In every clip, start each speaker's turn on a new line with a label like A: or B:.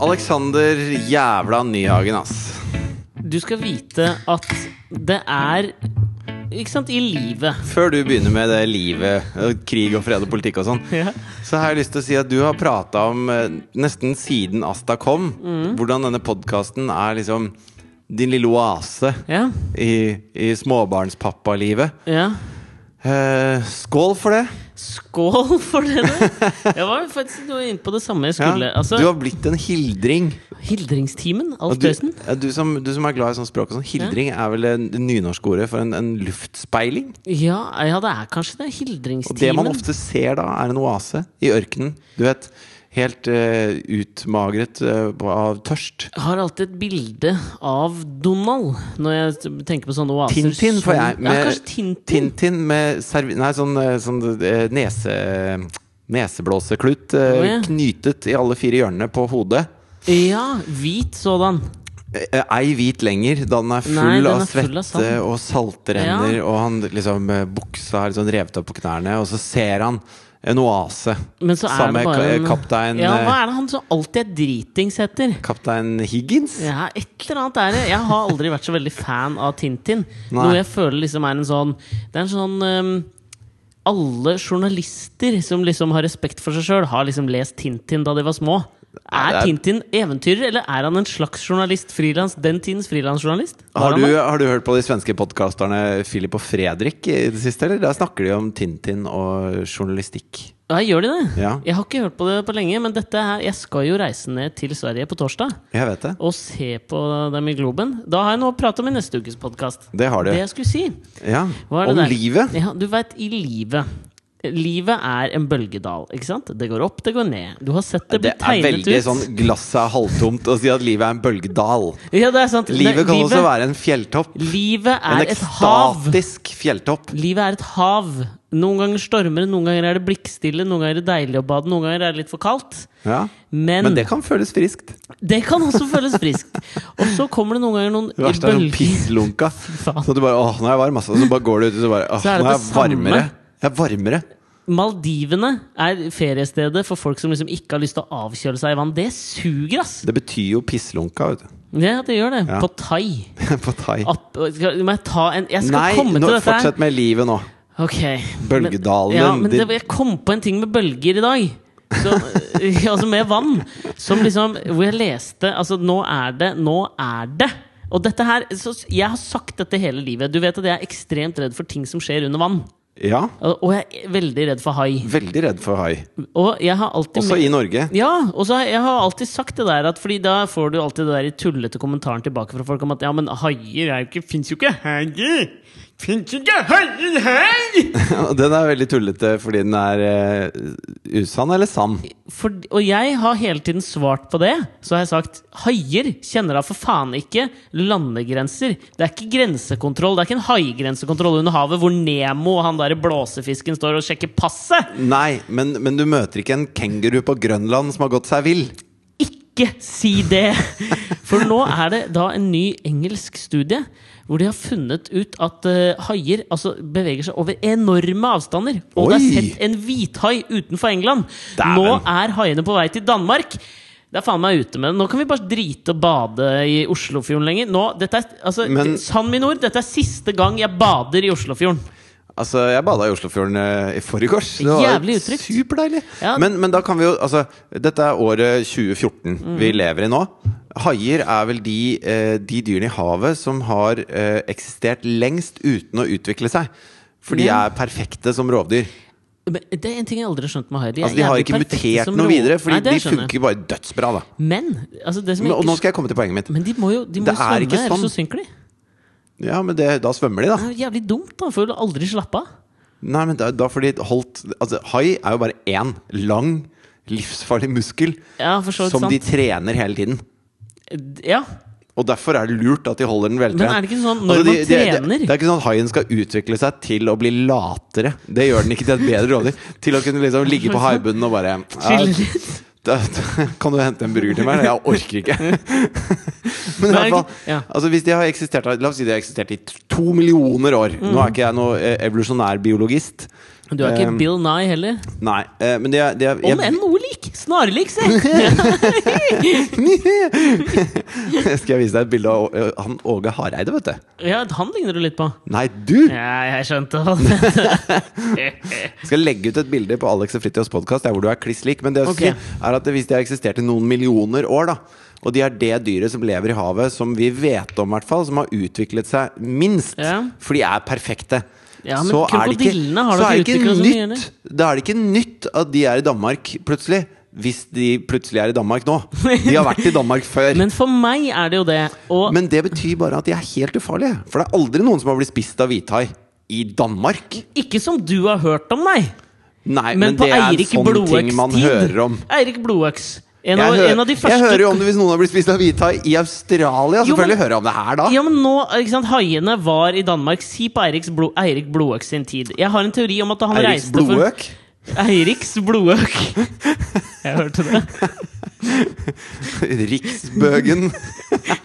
A: Alexander jævla Nyhagen, ass.
B: Du skal vite at det er Ikke sant, i livet.
A: Før du begynner med det livet, eh, krig og fred og politikk og sånn,
B: Ja.
A: så har jeg lyst til å si at du har prata om, eh, nesten siden Asta kom, hvordan denne podkasten er liksom din lille oase
B: Ja.
A: i, i småbarnspappalivet.
B: ja.
A: Eh, skål for det!
B: Skål for det, da! Jeg var faktisk noe inne på det samme jeg
A: Ja.
B: skulle. Altså,
A: Du har blitt en hildring.
B: Hildringstimen,
A: Og
B: Alf
A: Du,
B: Tøysen.
A: ja, du, som, du som er glad i sånn språk og sånn, hildring er vel det nynorske ordet for en, en luftspeiling?
B: Ja, ja, det er kanskje det.
A: Og det man
B: Hildringstimen.
A: ofte ser da, er en oase i ørkenen. Du vet, helt eh, utmagret eh, av tørst.
B: Har alltid et bilde av Donald når jeg t- tenker på sånne oaser.
A: Tintin får jeg.
B: Sånn- ja, kanskje Tintin.
A: Tintin med servi... Nei, sånn, eh, sånn eh, nese... Neseblåseklut eh,
B: Å, ja.
A: knytet i alle fire hjørnene på hodet.
B: Ja, hvit sådan.
A: Eh, Ei hvit lenger, da den er full
B: Nei, den
A: av
B: er full
A: svette
B: av sand.
A: og saltrenner, og han liksom eh, buksa er litt sånn revet opp på knærne, og så ser han en oase.
B: Men så er
A: Samme
B: det bare
A: ka-
B: en
A: kaptein,
B: Ja,
A: eh,
B: hva er det han som alltid er dritings etter?
A: Kaptein Higgins?
B: Ja, et eller annet er det. Jeg har aldri vært så veldig fan av Tintin.
A: Nei.
B: Noe jeg føler liksom er en sånn Det er en sånn ehm, Alle journalister som liksom har respekt for seg sjøl, har liksom lest Tintin da de var små. Er
A: Ja, det er-
B: Tintin eventyrer, eller er han en slags journalist? Frilans, den tidens frilansjournalist? Var
A: Har
B: han
A: du,
B: det?
A: har du hørt på de svenske podkasterne Philip og Fredrik i det siste, eller? Der snakker de om Tintin og journalistikk.
B: Ja, gjør de det?
A: Ja.
B: Jeg har ikke hørt på det på lenge, men dette er, jeg skal jo reise ned til Sverige på torsdag
A: Jeg vet det.
B: og se på dem i Globen. Da har jeg noe å prate om i neste ukes podkast.
A: Det har du.
B: Det jeg skulle si,
A: Ja.
B: Hva er det
A: Om
B: der?
A: livet.
B: Ja, du vet, i livet Livet er en bølgedal, ikke sant? Det går opp, det går ned. Du har sett det bli
A: Det er
B: tegnet ut.
A: veldig sånn glasset er halvtomt å si at livet er en bølgedal.
B: Ja, det er sant.
A: Livet kan
B: livet,
A: også være en fjelltopp.
B: Livet
A: En
B: er et hav.
A: ekstatisk fjelltopp.
B: Livet er et hav. Noen ganger stormer det, noen ganger er det blikkstille, noen ganger er det deilig å bade, noen ganger er det litt for kaldt.
A: Ja.
B: Men,
A: Men
B: det,
A: det kan føles friskt.
B: kan også føles friskt. Og så kommer det noen ganger noen
A: Det verste er sånn
B: bølger
A: pisslunka.
B: faen.
A: Så du bare åh, nå er jeg varm, altså. Og så bare går du ut, og så bare åh,
B: Så er det
A: nå er jeg
B: det samme.
A: varmere. Jeg er varmere.
B: Maldivene er feriestedet for folk som liksom ikke har lyst til å avkjøle seg i vann. Det suger, ass!
A: Det betyr jo pisslunka, vet du.
B: Ja, det gjør det.
A: Ja.
B: På thai.
A: På thai.
B: At, skal, må jeg ta en Jeg skal
A: Nei,
B: komme
A: nå,
B: til dette her.
A: fortsett med livet nå.
B: Ok.
A: Bølgedalen,
B: Men, ja,
A: den-
B: men
A: din-
B: det, jeg kom på en ting med bølger i dag. Som, altså med vann. Som liksom Hvor jeg leste Altså, nå er det Nå er det! Og dette her så, Jeg har sagt dette hele livet. Du vet at jeg er ekstremt redd for ting som skjer under vann.
A: Ja.
B: Og og jeg er veldig redd for hai.
A: Veldig redd for hai.
B: Og jeg har alltid
A: Også i Norge.
B: Ja, og så har jeg jeg har alltid sagt det der at Fordi da får du alltid det der i tullete kommentaren tilbake fra folk om at ja, men haier er jo ikke Fins jo ikke haier! Fins ikke haier her!
A: Den er veldig tullete fordi den er eh, usann eller sann.
B: For, og jeg har hele tiden svart på det. Så har jeg sagt haier kjenner da for faen ikke landegrenser. Det er ikke grensekontroll. Det er ikke en haigrensekontroll under havet hvor Nemo og han der blåsefisken står og sjekker passet.
A: Nei, men, men du møter ikke en kenguru på Grønland som har gått seg vill.
B: Ikke si det! For nå er det da en ny engelsk studie hvor de har funnet ut at eh, haier altså, beveger seg over enorme avstander. Og det
A: Oi!
B: er sett en hvithai utenfor England.
A: Dæven.
B: Nå er haiene på vei til Danmark. Det er faen meg ute med det. Nå kan vi bare drite og bade i Oslofjorden lenger. Nå, dette er, altså,
A: Men-
B: Sann mine ord, dette er siste gang jeg bader i Oslofjorden.
A: Altså, jeg bada i Oslofjorden eh, i forgårs. Det var
B: Jævlig utrygt.
A: Superdeilig.
B: Ja.
A: Men, men da kan vi jo Altså, dette er året 2014
B: Mm.
A: vi lever i nå. Haier er vel de, eh, de dyrene i havet som har eh, eksistert lengst uten å utvikle seg. For de
B: Ja.
A: er perfekte som rovdyr.
B: Men det er en ting jeg aldri har skjønt med haier. er
A: Altså, de har
B: jævlig
A: ikke
B: perfekte
A: mutert
B: som
A: noe
B: ro-
A: videre, Fordi
B: Nei, det
A: de
B: skjønner jeg.
A: funker bare dødsbra, da.
B: Men altså, det som
A: Men,
B: jeg
A: og nå
B: ikke
A: skal jeg komme til poenget mitt.
B: Men de må jo de må
A: Det
B: jo
A: er
B: svømme,
A: ikke
B: ellers
A: sånn.
B: så synker de.
A: Ja, men det, da svømmer de, da.
B: Det er jo jævlig dumt, da. For du aldri slappe av.
A: Nei, men da, da får de holdt Altså, hai er jo bare én lang, livsfarlig muskel
B: Ja, for så vidt
A: som
B: sant.
A: de trener hele tiden.
B: Ja.
A: Og derfor er det lurt at de holder den Altså, veltrent.
B: Men er det ikke sånn når man
A: Det,
B: trener-
A: det er ikke sånn at haien skal utvikle seg til å bli latere. Det gjør den ikke til et bedre rådyr. Til å kunne liksom ligge på haibunnen og bare ja,
B: Chille litt.
A: da, da, kan du hente en burger til meg? Jeg orker ikke. Men i
B: Nei,
A: hvert fall,
B: ja.
A: altså hvis de har eksistert La oss si de har eksistert i t- to millioner år. Nå er ikke jeg noe eh, evolusjonær biologist.
B: Du er ikke
A: Um,
B: Bill Nye heller.
A: Nei, eh, men det er, det er
B: Om enn noe lik! Snarlik, se!
A: Skal jeg vise deg et bilde av Å- eh, han Åge Hareide, vet du.
B: Ja, han ligner du litt på.
A: Nei, du!
B: Ja, jeg skjønte hva du mente.
A: skal legge ut et bilde på Alex og Fritjofs podkast der hvor du er kliss lik. Men det jeg skal
B: Ok.
A: si er at hvis de har eksistert i noen millioner år, da og de er det dyret som lever i havet, som vi vet om, hvert fall, som har utviklet seg minst.
B: Ja.
A: For de er perfekte.
B: Ja,
A: er
B: men
A: det
B: krokodillene har
A: så
B: da
A: er det
B: ikke
A: ikke
B: utviklet seg mye,
A: nytt, Da er det ikke nytt at de er i Danmark plutselig. Hvis de plutselig er i Danmark nå. De har vært i Danmark før.
B: Men for meg er det jo det. Og
A: Men det betyr bare at de er helt ufarlige. For det er aldri noen som har blitt spist av hvithai i Danmark.
B: ikke som du har hørt om, nei.
A: Nei,
B: Men,
A: men,
B: på
A: det er en
B: Eirik
A: sånn
B: Blodøks tid
A: ting man hører om.
B: Eirik Blodøks. En,
A: Jeg,
B: av-
A: hører-
B: en av de
A: jeg
B: første
A: hører jo om det hvis noen har blitt spist av hvithai i Australia.
B: Jo,
A: Selvfølgelig
B: men-
A: hører jeg om det her da.
B: Ja, men nå, ikke sant, Haiene var i Danmark. Si på Eiriks Blo Eirik Blodøk sin tid. Jeg har en teori om at han
A: Eiriks
B: reiste
A: blodøk.
B: for Eiriks Blodøk. Jeg hørte det.
A: Riksbøgen.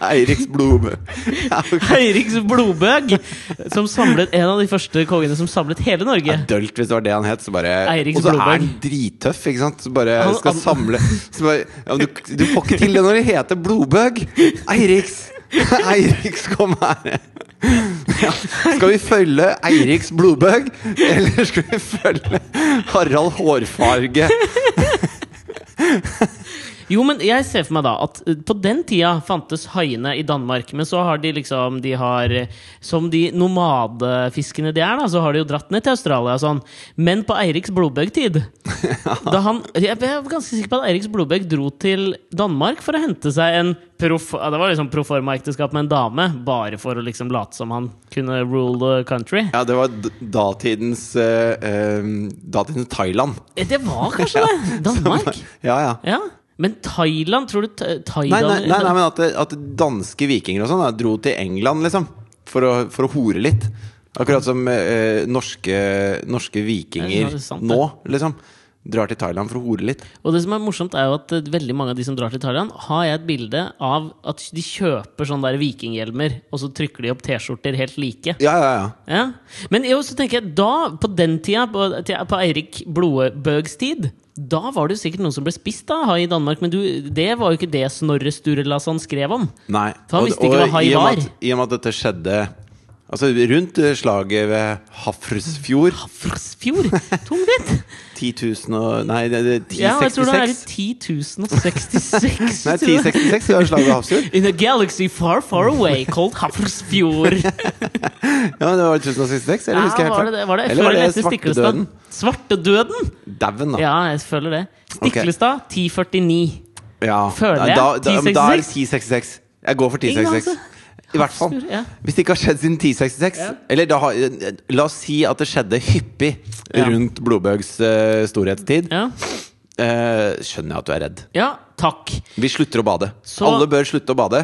A: Eiriks blodbø. Ja, ok.
B: Eiriks Blodbøg, som samlet en av de første kongene som samlet hele Norge.
A: Dølt, hvis det var det han het. Så bare,
B: Eiriks
A: og så er
B: blodbøg.
A: han drittøff, ikke sant. Så bare
B: Han-
A: skal
B: han-
A: samle så bare, ja, men du, du får ikke til det når det heter blodbøg! Eiriks! Eiriks, kom her! Ja. Skal vi følge Eiriks blodbøg, eller skal vi følge Harald Hårfarge?
B: Jo, men jeg ser for meg da at eh, på den tida fantes haiene i Danmark. Men så har de liksom de har, eh, Som de nomadefiskene de er, da, så har de jo dratt ned til Australia og sånn. Men på Eiriks Blodbøg-tid Da han Jeg jeg er ganske sikker på at Eiriks Blodbøg dro til Danmark for å hente seg en proff... ja, Det var liksom proforma-ekteskap med en dame, bare for å liksom late som han kunne rule the country.
A: Ja, det var d- datidens eh, eh, Datidens Thailand.
B: Eh, Det var kanskje det! Danmark.
A: Ja, ja.
B: Ja. Men Thailand, tror du Tha-
A: Nei,
B: Thailand
A: nei, nei, nei men at, det- at danske vikinger og sånn da, dro til England, liksom. For å, for å hore litt. Akkurat som eh, norske, norske
B: Ja,
A: vikinger
B: det er sant, det.
A: nå, liksom. Drar til Thailand for å hore litt.
B: Og det som er morsomt, er jo at eh, veldig mange av de som drar til Thailand, har jeg et bilde av at de kjøper sånne der vikinghjelmer, og så trykker de opp T-skjorter helt like.
A: Ja, ja, ja.
B: Ja. Men jo, så tenker jeg, da, på den tida, på, til- på Eirik Blodbøgs tid, da var det jo sikkert noen som ble spist av hai i Danmark, men du, det var jo ikke det Snorre Sturlason skrev om.
A: Nei.
B: For han visste ikke hva hai
A: i og med
B: var.
A: at- I og med at dette skjedde Altså rundt eh, slaget ved Hafrsfjord
B: Hafrsfjord! Tungt ditt!
A: 10 000 og Nei, det, det,
B: Ja, jeg tror det er i
A: 1066.
B: 10.066.
A: Nei, 1066 var slaget ved Hafrsfjord.
B: In a galaxy far, far away called Hafrsfjord.
A: Ja, men det var 1066, eller husker jeg
B: ja,
A: helt
B: var det
A: feil?
B: det? Var det?
A: Eller
B: Før
A: var
B: eller
A: det
B: etter Stiklestad?
A: svartedøden?
B: Svartedøden?
A: Dauen, da.
B: Ja, jeg føler det. Stiklestad 1049.
A: Ja.
B: Føler
A: Nei,
B: jeg.
A: Da, da, men da er det
B: 1066.
A: 1066. Jeg går for
B: Ingen
A: 1066. I hvert fall.
B: Hafrsfjord, ja.
A: Hvis det ikke har skjedd siden 1066
B: Ja.
A: Eller da, har- la oss si at det skjedde hyppig
B: Ja.
A: rundt Blodbøgs eh, storhetstid.
B: Ja.
A: Eh, skjønner jeg at du er redd.
B: ja, takk.
A: Vi slutter å bade.
B: Så-
A: Alle bør slutte å bade.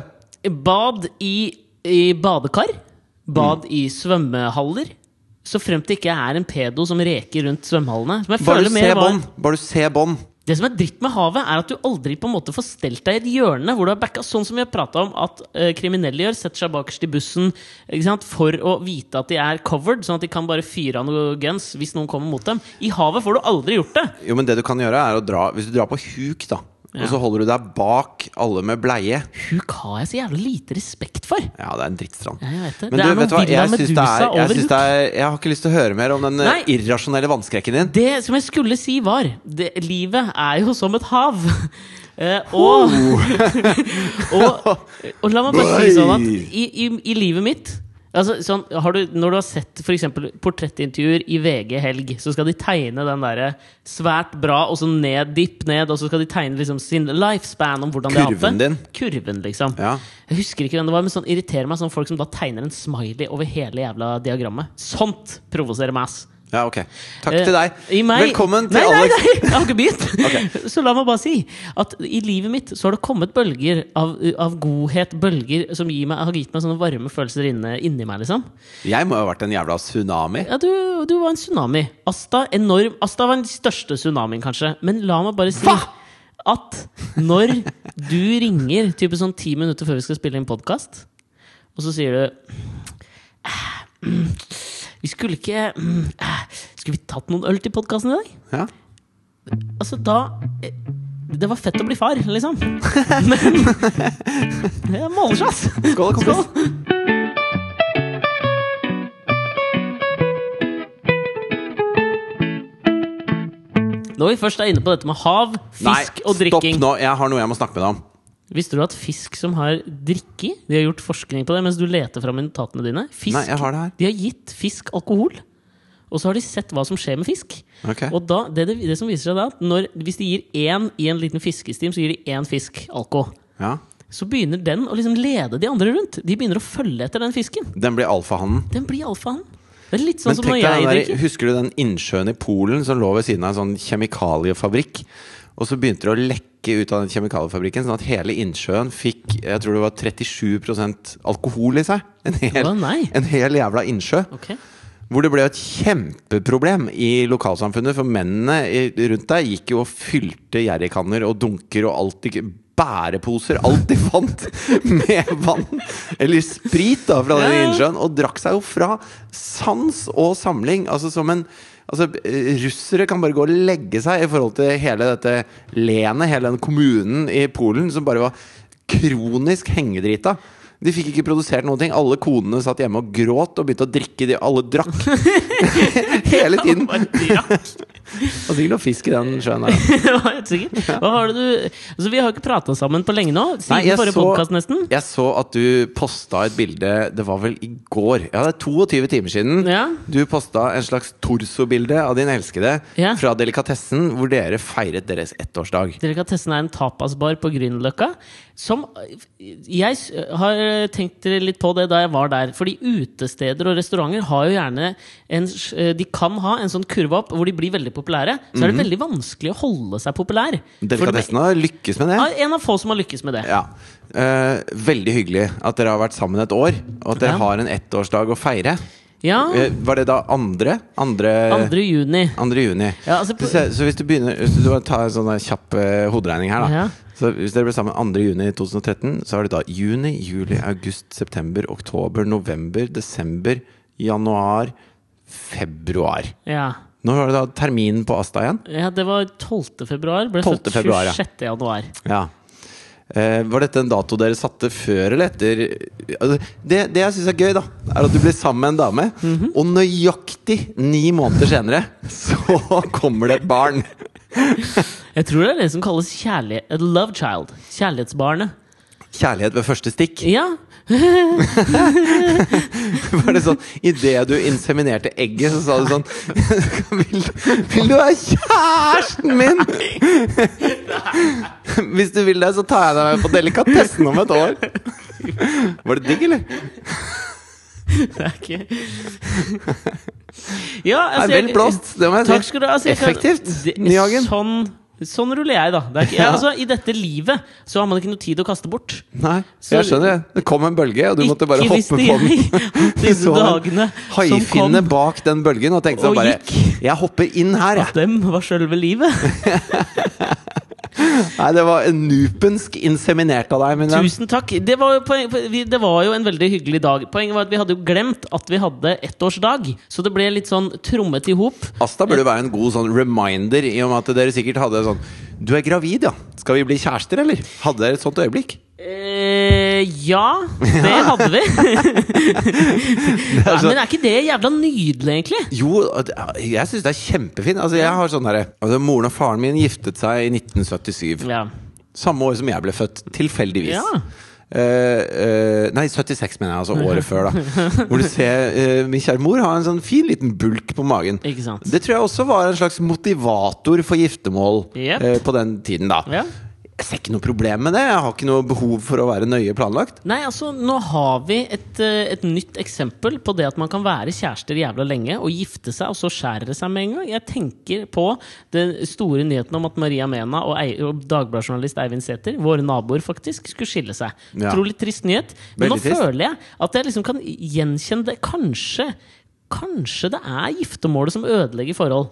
B: Bad i, i badekar.
A: Mm.
B: Bad i svømmehaller. Så fremt det ikke er en pedo som reker rundt svømmehallene. Som jeg
A: Bare
B: føler
A: du
B: mer
A: ser
B: var-
A: bånd! Bare du ser bånd!
B: Det som er dritt med havet, er at du aldri på en måte får stelt deg i et hjørne hvor du har backa sånn som vi har prata om at eh, kriminelle gjør. Setter seg bakerst i bussen ikke sant? for å vite at de er covered, sånn at de kan bare fyre av noen guns hvis noen kommer mot dem. I havet får du aldri gjort det!
A: Jo, men det du kan gjøre, er å dra Hvis du drar på huk, da, og så holder du deg bak alle med bleie
B: Huk har jeg så jævlig lite respekt for!
A: Ja, det er en drittstrand.
B: Ja, jeg vet det.
A: Men
B: Det
A: du,
B: er
A: vet du
B: noen
A: hva?
B: Villa
A: Jeg syns det
B: Medusa
A: er, jeg,
B: over
A: syns det er, jeg har ikke lyst til å høre mer om den eh,
B: Nei.
A: irrasjonelle vannskrekken din.
B: Det som jeg skulle si, var det, Livet er jo som et hav. Eh, og,
A: Oh.
B: og, og la meg bare si sånn at i, i, i livet mitt altså, sånn, har du, Når du har sett for eksempel portrettintervjuer i VG Helg, så skal de tegne den derre svært bra, og så ned, dipp ned, og så skal de tegne liksom sin lifespan om hvordan de har hatt
A: Kurven
B: det.
A: din.
B: Kurven, liksom.
A: Ja.
B: Jeg husker ikke hvem det var, men sånn irriterer meg sånn folk som da tegner en smiley over hele jævla diagrammet. Sånt provoserer meg, ass.
A: Ja, ok. Takk til deg.
B: Eh, I meg,
A: Velkommen til
B: nei,
A: Alex.
B: Nei, nei, jeg har ikke begynt!
A: Ok.
B: Så la meg bare si at i livet mitt så har det kommet bølger av, av godhet, bølger som gir meg, har gitt meg sånne varme følelser inne, inni meg, liksom.
A: Jeg må jo ha vært en jævla tsunami.
B: Ja, du, du var en tsunami. Asta, enorm, Asta var den største tsunamien, kanskje. Men la meg bare si at når du ringer type sånn ti minutter før vi skal spille inn podkast, og så sier du «Eh, mm, Vi skulle ikke mm, eh, Skulle vi tatt noen øl til podkasten i dag?
A: Ja.
B: Altså, da eh, Det var fett å bli far, liksom. Men det er målesjass!
A: Skål, kompis.
B: Når vi først er inne på dette med hav, fisk og drikking
A: stopp nå. Jeg har noe jeg må snakke med deg om.
B: Visste du at fisk som har drikke De har gjort forskning på det mens du leter fram i notatene dine. Fisk,
A: Nei, jeg har det her.
B: De har gitt fisk alkohol. Og så har de sett hva som skjer med fisk.
A: Ok.
B: Og da, det, det, det som viser seg da at når, Hvis de gir én i en liten fiskestim, så gir de én fisk alko.
A: Ja.
B: Så begynner den å liksom lede de andre rundt. De begynner å følge etter den fisken.
A: Den blir alfahannen.
B: Den blir alfahannen. Det er litt sånn
A: Men
B: som når
A: tenk
B: jeg
A: deg den der,
B: drikker.
A: Husker du den innsjøen i Polen som lå ved siden av en sånn kjemikaliefabrikk? Og så begynte det å lekke ut av den kjemikaliefabrikken, sånn at hele innsjøen fikk jeg tror det var 37 alkohol i seg. En hel,
B: Å, nei.
A: en hel jævla innsjø.
B: Ok.
A: Hvor det ble et kjempeproblem i lokalsamfunnet, for mennene i- rundt deg gikk jo og fylte jerrykanner og dunker og alt de k- Bæreposer, alt de fant, med vann eller sprit da fra den
B: Ja, ja.
A: innsjøen. Og drakk seg jo fra sans og samling. Altså som en Altså, eh, russere kan bare gå og legge seg i forhold til hele dette lenet, hele den kommunen i Polen som bare var kronisk hengedrita. De fikk ikke produsert noen ting. Alle konene satt hjemme og gråt og begynte å drikke. De alle drakk hele tiden.
B: Bare drakk.
A: Og sikkert noe fisk i den sjøen her. da.
B: Det var helt sikkert. Hva var det du Altså, vi har jo ikke prata sammen på lenge nå. Siden
A: Nei, jeg
B: forrige
A: så-
B: podcast nesten.
A: Jeg så at du posta et bilde, det var vel i går? Ja, det er 22 timer siden.
B: Ja.
A: Du posta en slags torsobilde av din elskede
B: Ja.
A: fra delikatessen, hvor dere feiret deres ettårsdag.
B: Delikatessen er en tapasbar på Grünerløkka. Som Jeg s- har eh, tenkt litt på det da jeg var der. Fordi utesteder og restauranter har jo gjerne en, s- eh, De kan ha en sånn kurve opp hvor de blir veldig populære. Så
A: Mhm.
B: er det veldig vanskelig å holde seg populær. For det-
A: Delikatessen har lykkes med det.
B: Ja, en av få som har lykkes med det.
A: Ja. Eh, veldig hyggelig at dere har vært sammen et år, og at dere
B: Ja. Ah.
A: har en ettårsdag å feire.
B: Ja,
A: Eh, var det da andre? Andre,
B: 2. juni.
A: 2. juni.
B: Ja, altså på-
A: så, så hvis du begynner Hvis du bare tar en sånn der kjapp eh, hoderegning her, da.
B: Ja.
A: Så hvis dere ble sammen 2. juni 2013, så er det da juni, juli, august, september, oktober, november, desember, januar, februar.
B: Ja.
A: Nå var det da terminen på Asta igjen.
B: ja, det var 12. februar. Ble
A: 12.
B: født
A: februar, ja.
B: 26. januar.
A: Ja. Eh, var dette en dato dere satte før eller etter altså, Det, det jeg syns er gøy, da, er at du blir sammen med en dame,
B: Mhm.
A: og nøyaktig ni måneder senere så kommer det et barn.
B: Jeg tror det er det som kalles kjærlighet, et love child. Kjærlighetsbarnet.
A: Kjærlighet ved første stikk.
B: Ja,
A: Var det sånn Idet du inseminerte egget, så sa du sånn Vil, vil du være kjæresten min? Hvis du vil det, så tar jeg deg med på delikatessen om et år. Var det digg, eller?
B: det er ikke Ja, altså,
A: Nei,
B: jeg-
A: vel blåst, det må jeg si.
B: Takk skal du ha. altså, jeg kan-
A: Effektivt,
B: Det-
A: Nyhagen.
B: Sånn, sånn ruller jeg, da. Det er ikke,
A: Ja.
B: altså, I dette livet så har man ikke noe tid å kaste bort.
A: Nei,
B: Så-
A: jeg skjønner det. Det kom en bølge, og du måtte bare
B: Ikke
A: hoppe
B: visste
A: på den.
B: jeg at Disse
A: så den
B: dagene som kom
A: Haifinne bak den bølgen og tenkte sånn
B: Og
A: bare
B: gikk.
A: Jeg hopper inn her, jeg.
B: dem var sjølve livet.
A: Nei, det var en nupensk inseminert av deg, min venn.
B: Tusen takk. Det var, jo poeng, vi- det var jo en veldig hyggelig dag. Poenget var at vi hadde jo glemt at vi hadde ettårsdag. Så det ble litt sånn trommet i hop.
A: Asta burde være en god sånn reminder, i og med at dere sikkert hadde sånn Du er gravid, ja. Skal vi bli kjærester, eller? Hadde dere et sånt øyeblikk?
B: Eh, ja, det hadde vi. Nei,
A: så-
B: men er ikke det jævla nydelig, egentlig?
A: Altså, Jo, det- jeg syns det er kjempefint. Altså, jeg har sånn herre altså, Moren og faren min giftet seg i 1977.
B: Ja.
A: Samme år som jeg ble født, tilfeldigvis.
B: Ja.
A: Eh, eh, nei, 76 mener jeg, altså året før. da Hvor du ser eh, min kjære mor har en sånn fin liten bulk på magen.
B: Ikke sant.
A: Det tror jeg også var en slags motivator for giftermål
B: Jep.
A: eh, på den tiden. da
B: Ja.
A: Jeg ser ikke noe problem med det. Jeg har ikke noe behov for å være nøye planlagt.
B: Nei, altså, nå har vi et, eh, et nytt eksempel på det at man kan være kjærester jævla lenge og gifte seg, og så skjærer det seg med en gang. Jeg tenker på den store nyheten om at Maria Mena og, Ei- og dagbladjournalist Eivind Sæther, våre naboer faktisk, skulle skille seg.
A: Ja.
B: Utrolig trist nyhet. Men
A: Veldig
B: nå
A: trist.
B: føler jeg at jeg liksom kan gjenkjenne det. Kanskje, kanskje det er giftermålet som ødelegger forhold.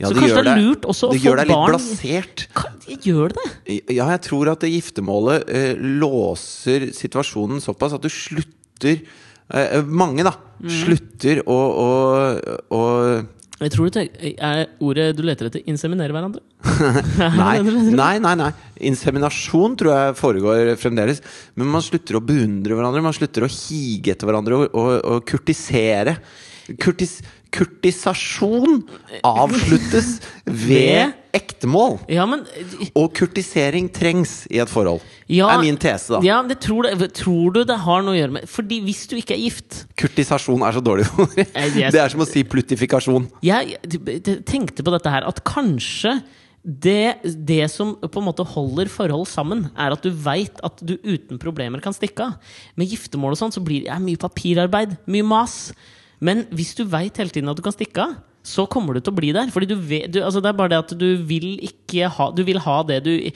A: Ja,
B: Så kanskje
A: gjør
B: det er
A: deg-
B: lurt også å
A: det
B: få
A: gjør deg litt
B: barn-
A: blasert.
B: Kan, gjør det det?
A: Ja, jeg tror at det giftermålet eh, låser situasjonen såpass at du
B: Mm.
A: slutter eh, Mange, da. Slutter å, å, å
B: Jeg tror du tenker, Er ordet du leter etter 'inseminere hverandre'?
A: Nei, nei, nei. nei. Inseminasjon tror jeg foregår fremdeles. Men man slutter å beundre hverandre, man slutter å hige etter hverandre og, og, og kurtisere. Kurtis, kurtisasjon avsluttes ved ektemål.
B: Ja, men eh,
A: Og kurtisering trengs i et forhold.
B: ja,
A: er min tese, da.
B: Ja, det tror, det, tror du det har noe å gjøre med Fordi hvis du ikke er gift
A: Kurtisasjon er så dårlig ord.
B: jeg-
A: Det er som å si plutifikasjon.
B: Jeg t- tenkte på dette her at kanskje det, det som på en måte holder forhold sammen, er at du veit at du uten problemer kan stikke av. Med giftermål og sånn så blir det er mye papirarbeid, mye mas. Men hvis du veit hele tiden at du kan stikke av, så kommer du til å bli der. Fordi du vet, du, altså det er bare det at du vil ikke ha Du vil ha det du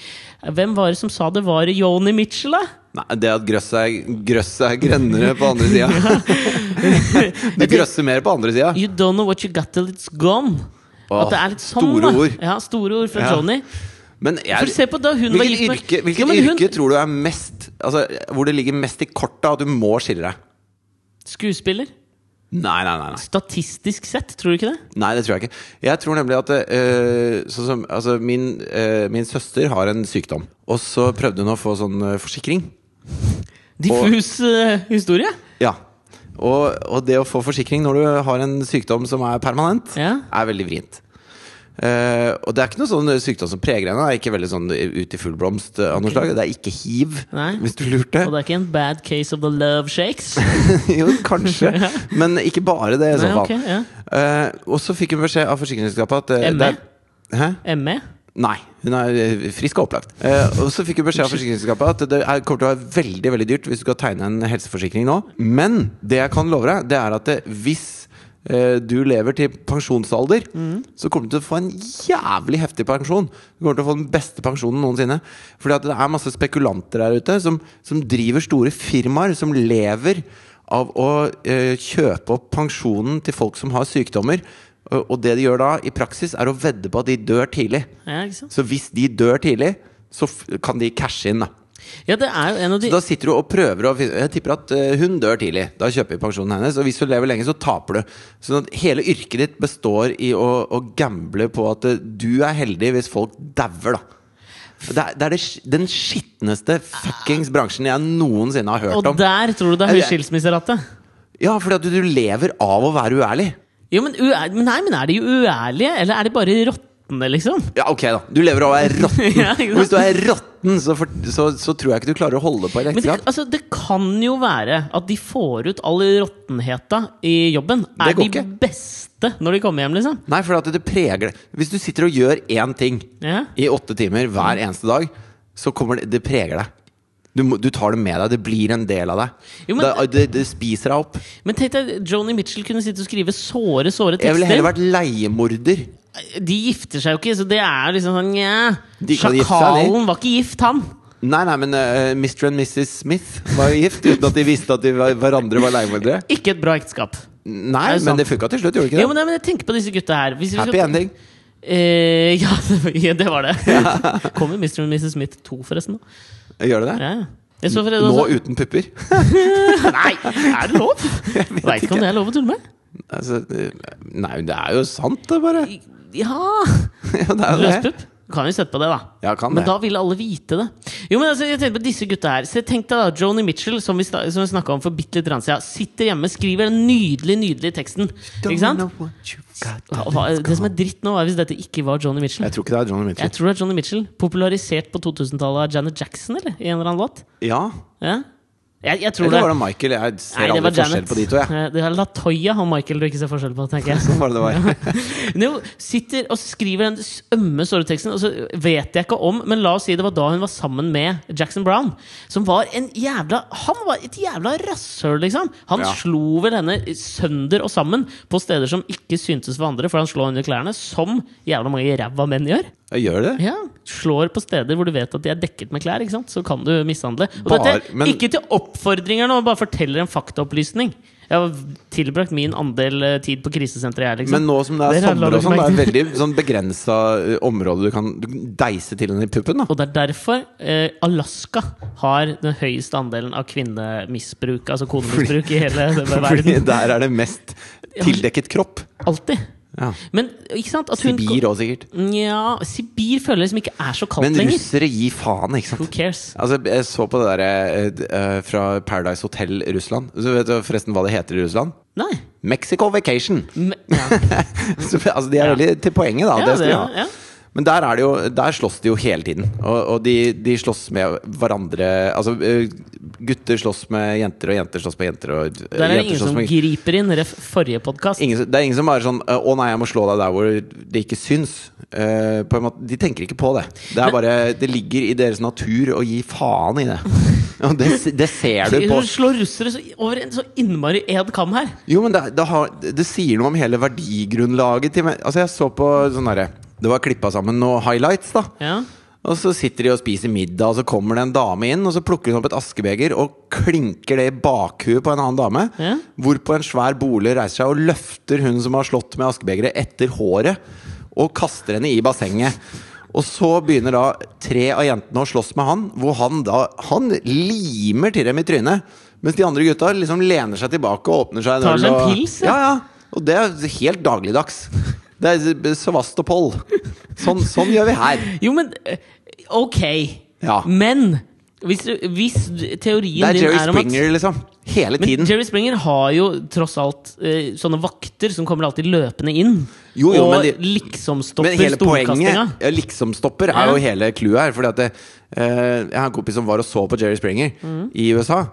B: Hvem var det som sa det var Joni Mitchell, da?
A: Nei, det at grøsset er, grøsset er grønnere på andre sida. Du grøsser mer på andre sida.
B: You don't know what you got till it's gone.
A: Åh,
B: At det er litt sånn,
A: store
B: da.
A: ord.
B: Ja, store ord fra
A: Ja.
B: Joni.
A: Men
B: For se
A: jeg,
B: på da hun var
A: hvilket
B: gift med
A: yrke,
B: Ja,
A: hvilket
B: men hun-
A: yrke tror du er mest altså, Hvor det ligger mest i kortet at du må skille deg?
B: Skuespiller?
A: Nei, nei, nei. nei.
B: Statistisk sett, tror du ikke det?
A: Nei, det tror jeg ikke. Jeg tror nemlig at eh, sånn som, altså, min, eh, min søster har en sykdom. Og så prøvde hun å få sånn eh, forsikring.
B: Diffus eh, historie?
A: Ja. Og, og det å få forsikring når du har en sykdom som er permanent,
B: Ja.
A: er veldig vrient. Eh, og det er ikke noe sånn sykdom som preger henne. Det er ikke veldig sånn ut i full blomst eh, av noe slag. Det er ikke hiv,
B: Nei.
A: hvis du lurte.
B: Og det er ikke en bad case of the love shakes?
A: jo, kanskje. Men ikke bare det, i så
B: Nei,
A: fall.
B: ok, ja. E.
A: Eh, og så fikk hun beskjed av forsikringsselskapet at eh,
B: ME?
A: det er- Hæ?
B: ME?
A: Nei, hun er eh, frisk og opplagt. Eh, og så fikk hun beskjed av forsikringsselskapet at det er, kommer til å være veldig veldig dyrt hvis du skal tegne en helseforsikring nå. Men det jeg kan love deg, det er at det, hvis eh, du lever til pensjonsalder, så kommer du til å få en jævlig heftig pensjon. Du kommer til å få den beste pensjonen noensinne. Fordi at det er masse spekulanter der ute som, som driver store firmaer, som lever av å eh, kjøpe opp pensjonen til folk som har sykdommer. Og og det de gjør da, i praksis, er å vedde på at de dør tidlig.
B: Ja, ikke sant?
A: Så hvis de dør tidlig, så f kan de cashe inn. Da
B: Ja, det er jo en av de
A: Da sitter du og prøver å finne Jeg tipper at eh, hun dør tidlig. Da kjøper vi pensjonen hennes. Og hvis du lever lenge, så taper du. Sånn at hele yrket ditt består i å, å gamble på at eh, du er heldig hvis folk dauer, da. Det er, det er det, sk- den skitneste fuckings bransjen jeg noensinne har hørt
B: Og
A: om.
B: der tror du det er høy skilsmisserate?
A: Ja, fordi at du lever av å være uærlig.
B: Jo, men, uær- men nei, men er de uærlige, eller er de bare råtne, liksom?
A: Ja, ok, da. Du lever av å være råtten.
B: Ja, ikke sant?
A: Og hvis du er råtten, så, for- så, så tror jeg ikke du klarer å holde på i et
B: Men det,
A: ekteskap.
B: altså, det kan jo være at de får ut all råttenheta i jobben. Er
A: går
B: de
A: ikke.
B: beste når de kommer hjem, liksom?
A: Nei, for at det preger det. Hvis du sitter og gjør én ting
B: Ja.
A: i åtte timer
B: Mm.
A: hver eneste dag, så kommer det Det preger deg. Du, må- du tar det med deg. Det blir en del av deg.
B: Jo, men-
A: det, det, det spiser deg opp.
B: Men tenk deg, Joni Mitchell kunne sitte og skrive såre, såre
A: Jeg ville
B: tekster.
A: heller vært leiemorder.
B: De gifter seg jo ikke, så det er liksom sånn nja.
A: De kan gifte seg, de.
B: Sjakalen var ikke gift, han!
A: Nei, nei, men eh, Mr. and Mrs. Smith var jo gift uten at de visste at de var, hverandre var leiemordere.
B: Ikke et bra ekteskap.
A: Nei,
B: Er det sant?
A: men det funka til slutt, gjorde det ikke det?
B: Jo, men, nei, men jeg tenker på disse gutta her. Hvis vi
A: Happy
B: skal-
A: ending.
B: Eh, ja, det- ja, det var det. Kommer Mr. og Mrs. Smith 2, forresten? nå?
A: Gjør det det?
B: Ja, altså- ja. Jeg så forresten
A: Nå
B: også-
A: uten pupper.
B: Nei! Er det lov? Veit ikke om det er lov å tulle med.
A: Altså, eh, nei, det er jo sant, det, bare.
B: Ja
A: Ja, det er jo det.
B: Løspupp? Kan jo sette på det, da.
A: Ja, kan
B: men
A: det.
B: da ville alle vite det. Jo, men altså, jeg tenkte på disse gutta her Så Tenk deg da, Joni Mitchell, som vi, sta- som vi snakka om for bitte litt grann siden, sitter hjemme, skriver den nydelige, nydelige teksten. Ikke sant?
A: Don't know what you got.
B: Og hva- Det som er dritt nå, er hvis dette ikke var Joni Mitchell.
A: Jeg tror ikke det er Johnny Mitchell.
B: Jeg tror det er Joni Mitchell. Popularisert på 2000-tallet av Janet Jackson, eller? I en eller annen låt?
A: Ja.
B: Ja? Jeg, jeg tror
A: Eller var
B: det.
A: det Michael? Jeg ser
B: Nei, det var
A: aldri forskjell
B: Janet.
A: på de to. Jeg.
B: Eh, Det er Latoya og Michael du ikke ser forskjell på, tenker jeg.
A: Sånn var det det var.
B: Men hun sitter og skriver den s- ømme såreteksten, og så vet jeg ikke om Men la oss si det var da hun var sammen med Jackson Brown, som var en jævla Han var et jævla rasshøl, liksom. Han
A: Ja.
B: slo vel henne sønder og sammen på steder som ikke syntes for andre, for han slår henne i klærne, som jævla mange ræva menn gjør.
A: Jeg Gjør det?
B: Ja, Slår på steder hvor du vet at de er dekket med klær, ikke sant? så kan du mishandle. Og
A: Bare-
B: dette,
A: men-
B: Ikke til oppfordringer nå, bare forteller en faktaopplysning. Jeg har tilbrakt min andel eh, tid på krisesenteret, jeg, liksom.
A: Men nå som det er
B: Dere har
A: sommer og
B: laget
A: sånn, det er
B: merke
A: veldig sånn begrensa ø, område du kan du kan deise til henne i puppen. da
B: Og det er derfor eh, Alaska har den høyeste andelen av kvinnemisbruk, altså konemisbruk, i hele
A: Fordi
B: verden.
A: der er det mest tildekket kropp.
B: Alltid.
A: Ja.
B: Men ikke sant at hun,
A: Sibir òg, sikkert.
B: Ja, Sibir føler jeg liksom ikke er så kaldt
A: Men
B: lenger.
A: russere gir faen, ikke
B: Who
A: sant?
B: cares?
A: Altså, jeg så på det derre eh, fra Paradise Hotel Russland. Så vet du forresten hva det heter i Russland?
B: Nei.
A: Mexico Vacation!
B: Men, ja.
A: Så, altså, de er
B: Ja.
A: veldig til poenget, da.
B: Ja,
A: det sånn, skal
B: det-
A: de ha.
B: ja.
A: Men der, er det jo, der slåss de jo hele tiden. Og, og de, de slåss med hverandre Altså, eh, gutter slåss med jenter, og jenter slåss med jenter, og eh,
B: Der er det
A: jenter
B: ingen
A: slåss
B: som
A: med
B: griper inn, ref forrige podkast.
A: ingen, som- Det er ingen som bare sånn eh, 'Å nei, jeg må slå deg der hvor det ikke syns'. Eh, på en måte, de tenker ikke på det. Det, er bare, det ligger i deres natur å gi faen i det. Og det, det ser du på
B: Hun slår russere så, over en så innmari ed kam her.
A: Jo, men det, det, har, det sier noe om hele verdigrunnlaget til men- Altså, jeg så på sånn derre Det var klippa sammen noen highlights, da.
B: Ja.
A: Og så sitter de og spiser middag, og så kommer det en dame inn, og så plukker hun opp et askebeger og klinker det i bakhuet på en annen dame.
B: Ja.
A: Hvorpå en svær bole reiser seg og løfter hun som har slått med askebegeret, etter håret og kaster henne i bassenget. Og så begynner da tre av jentene å slåss med han, hvor han da Han limer til dem i trynet. Mens de andre gutta liksom lener seg tilbake og åpner seg en
B: Tar
A: øl
B: seg en
A: og-
B: pils, ja.
A: ja, ja. Og det er helt dagligdags. Det er Sevastopol. Sånn, sånn gjør vi her.
B: Jo, men eh, ok.
A: Ja.
B: Men hvis, du- hvis du- teorien
A: Det er
B: din
A: Jerry
B: er om at
A: Springer, liksom. Hele
B: men
A: tiden.
B: Jerry Springer har jo tross alt eh, sånne vakter som kommer alltid løpende inn.
A: Jo, jo,
B: og
A: men de-
B: liksom stopper
A: Men hele
B: storkastinga.
A: poenget ja, liksom-stopper er jo
B: Ja.
A: hele clouet her. Fordi at det, eh, Jeg har en kompis som var og så på Jerry Springer i USA.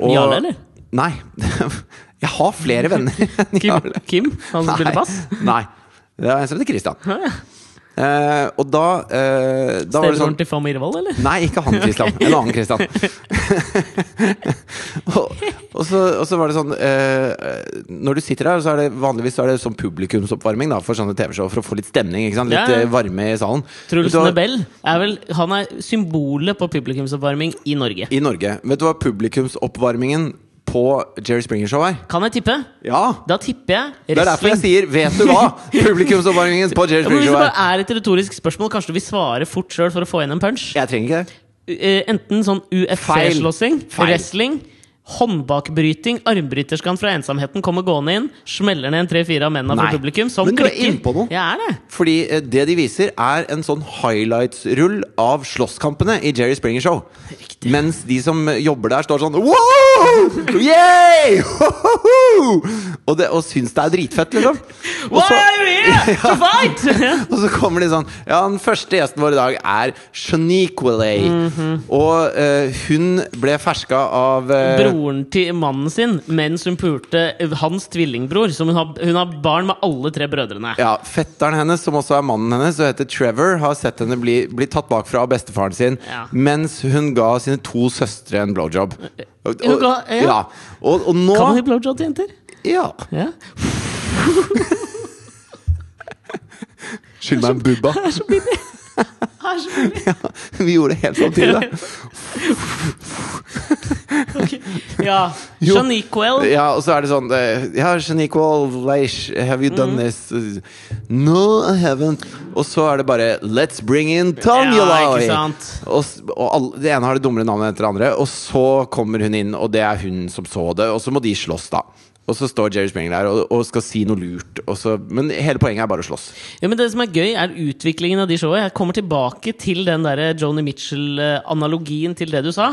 B: Jarle, eller?
A: Nei. Jeg har flere venner enn
B: Kim,
A: Jarle.
B: Kim, han som spiller bass?
A: Nei. Det er en som heter Christian. Eh, og da, eh, da var det sånn
B: Stebroren til Fam Irvald, eller?
A: Nei, ikke han Kristian. En annen Kristian. og, og, så, og så var det sånn eh, Når du sitter her, så er det vanligvis så er det sånn publikumsoppvarming da, for sånne TV-show for å få litt stemning. Ikke sant? Litt
B: Ja, ja.
A: eh, varme i salen. Vet
B: Truls
A: du hva-
B: Nebel er vel Han er symbolet på publikumsoppvarming i Norge.
A: I Norge. Vet du hva publikumsoppvarmingen på Jerry Springer-show er?
B: Kan jeg tippe?
A: Ja!
B: Da tipper jeg
A: Det er derfor jeg
B: wrestling.
A: sier 'vet du hva'? Publikumsoppvarmingen på Jerry
B: Ja, men Hvis det
A: Springer-show er
B: bare er et retorisk spørsmål, kanskje du vil svare fort sjøl for å få inn en punch?
A: Jeg trenger ikke det.
B: Eh, Enten sånn UFC-slåssing,
A: Feil.
B: wrestling, håndbakbryting, armbryterskan fra ensomheten kommer gående inn, smeller ned en tre-fire av mennene
A: Nei.
B: fra publikum, som
A: Men du er
B: klikker.
A: inne på noe.
B: Jeg er det.
A: Fordi eh, det de viser er en sånn highlights-rull av slåsskampene i Jerry Springer Show. Mens de som jobber der, står sånn Wow! Yay! Ho-ho-ho!» Og, det, og syns det er dritfett, liksom. Og
B: Why
A: så,
B: are we here to fight?
A: og så kommer de sånn Ja, den første gjesten vår i dag er Shaniquelay.
B: Mhm.
A: Og eh, hun ble ferska av eh,
B: Broren til mannen sin mens hun pulte eh, hans tvillingbror. Som hun, har, hun har barn med alle tre brødrene.
A: ja, Fetteren hennes, som også er mannen hennes, som heter Trevor, har sett henne bli, bli tatt bakfra av bestefaren sin
B: Ja.
A: mens hun ga sine to søstre en blowjob. Og,
B: Hun ga- ja.
A: Og, og nå
B: Kan man gi blowjob til jenter?
A: ja.
B: Ja.
A: Skyld meg en bubba.
B: Ah, selvfølgelig.
A: Ja, vi gjorde det helt samtidig, da.
B: Ok. Ja.
A: Jo.
B: Shaniquel.
A: Ja, og så er det sånn eh, Ja, Shaniqual, Leish, have you
B: Mm.
A: done this? No, I haven't. Og så er det bare Let's bring in Tanja
B: Ja,
A: Lai.
B: ikke sant.
A: Og, s- og alle, det ene har det dummere navnet etter det andre. Og så kommer hun inn, og det er hun som så det. Og så må de slåss, da. Og så står Jerry Springer der og, og skal si noe lurt. Og så, men hele poenget er bare å slåss.
B: Ja, men det som er gøy, er utviklingen av de showene. Jeg kommer tilbake til den der eh, Joni Mitchell-analogien til det du sa.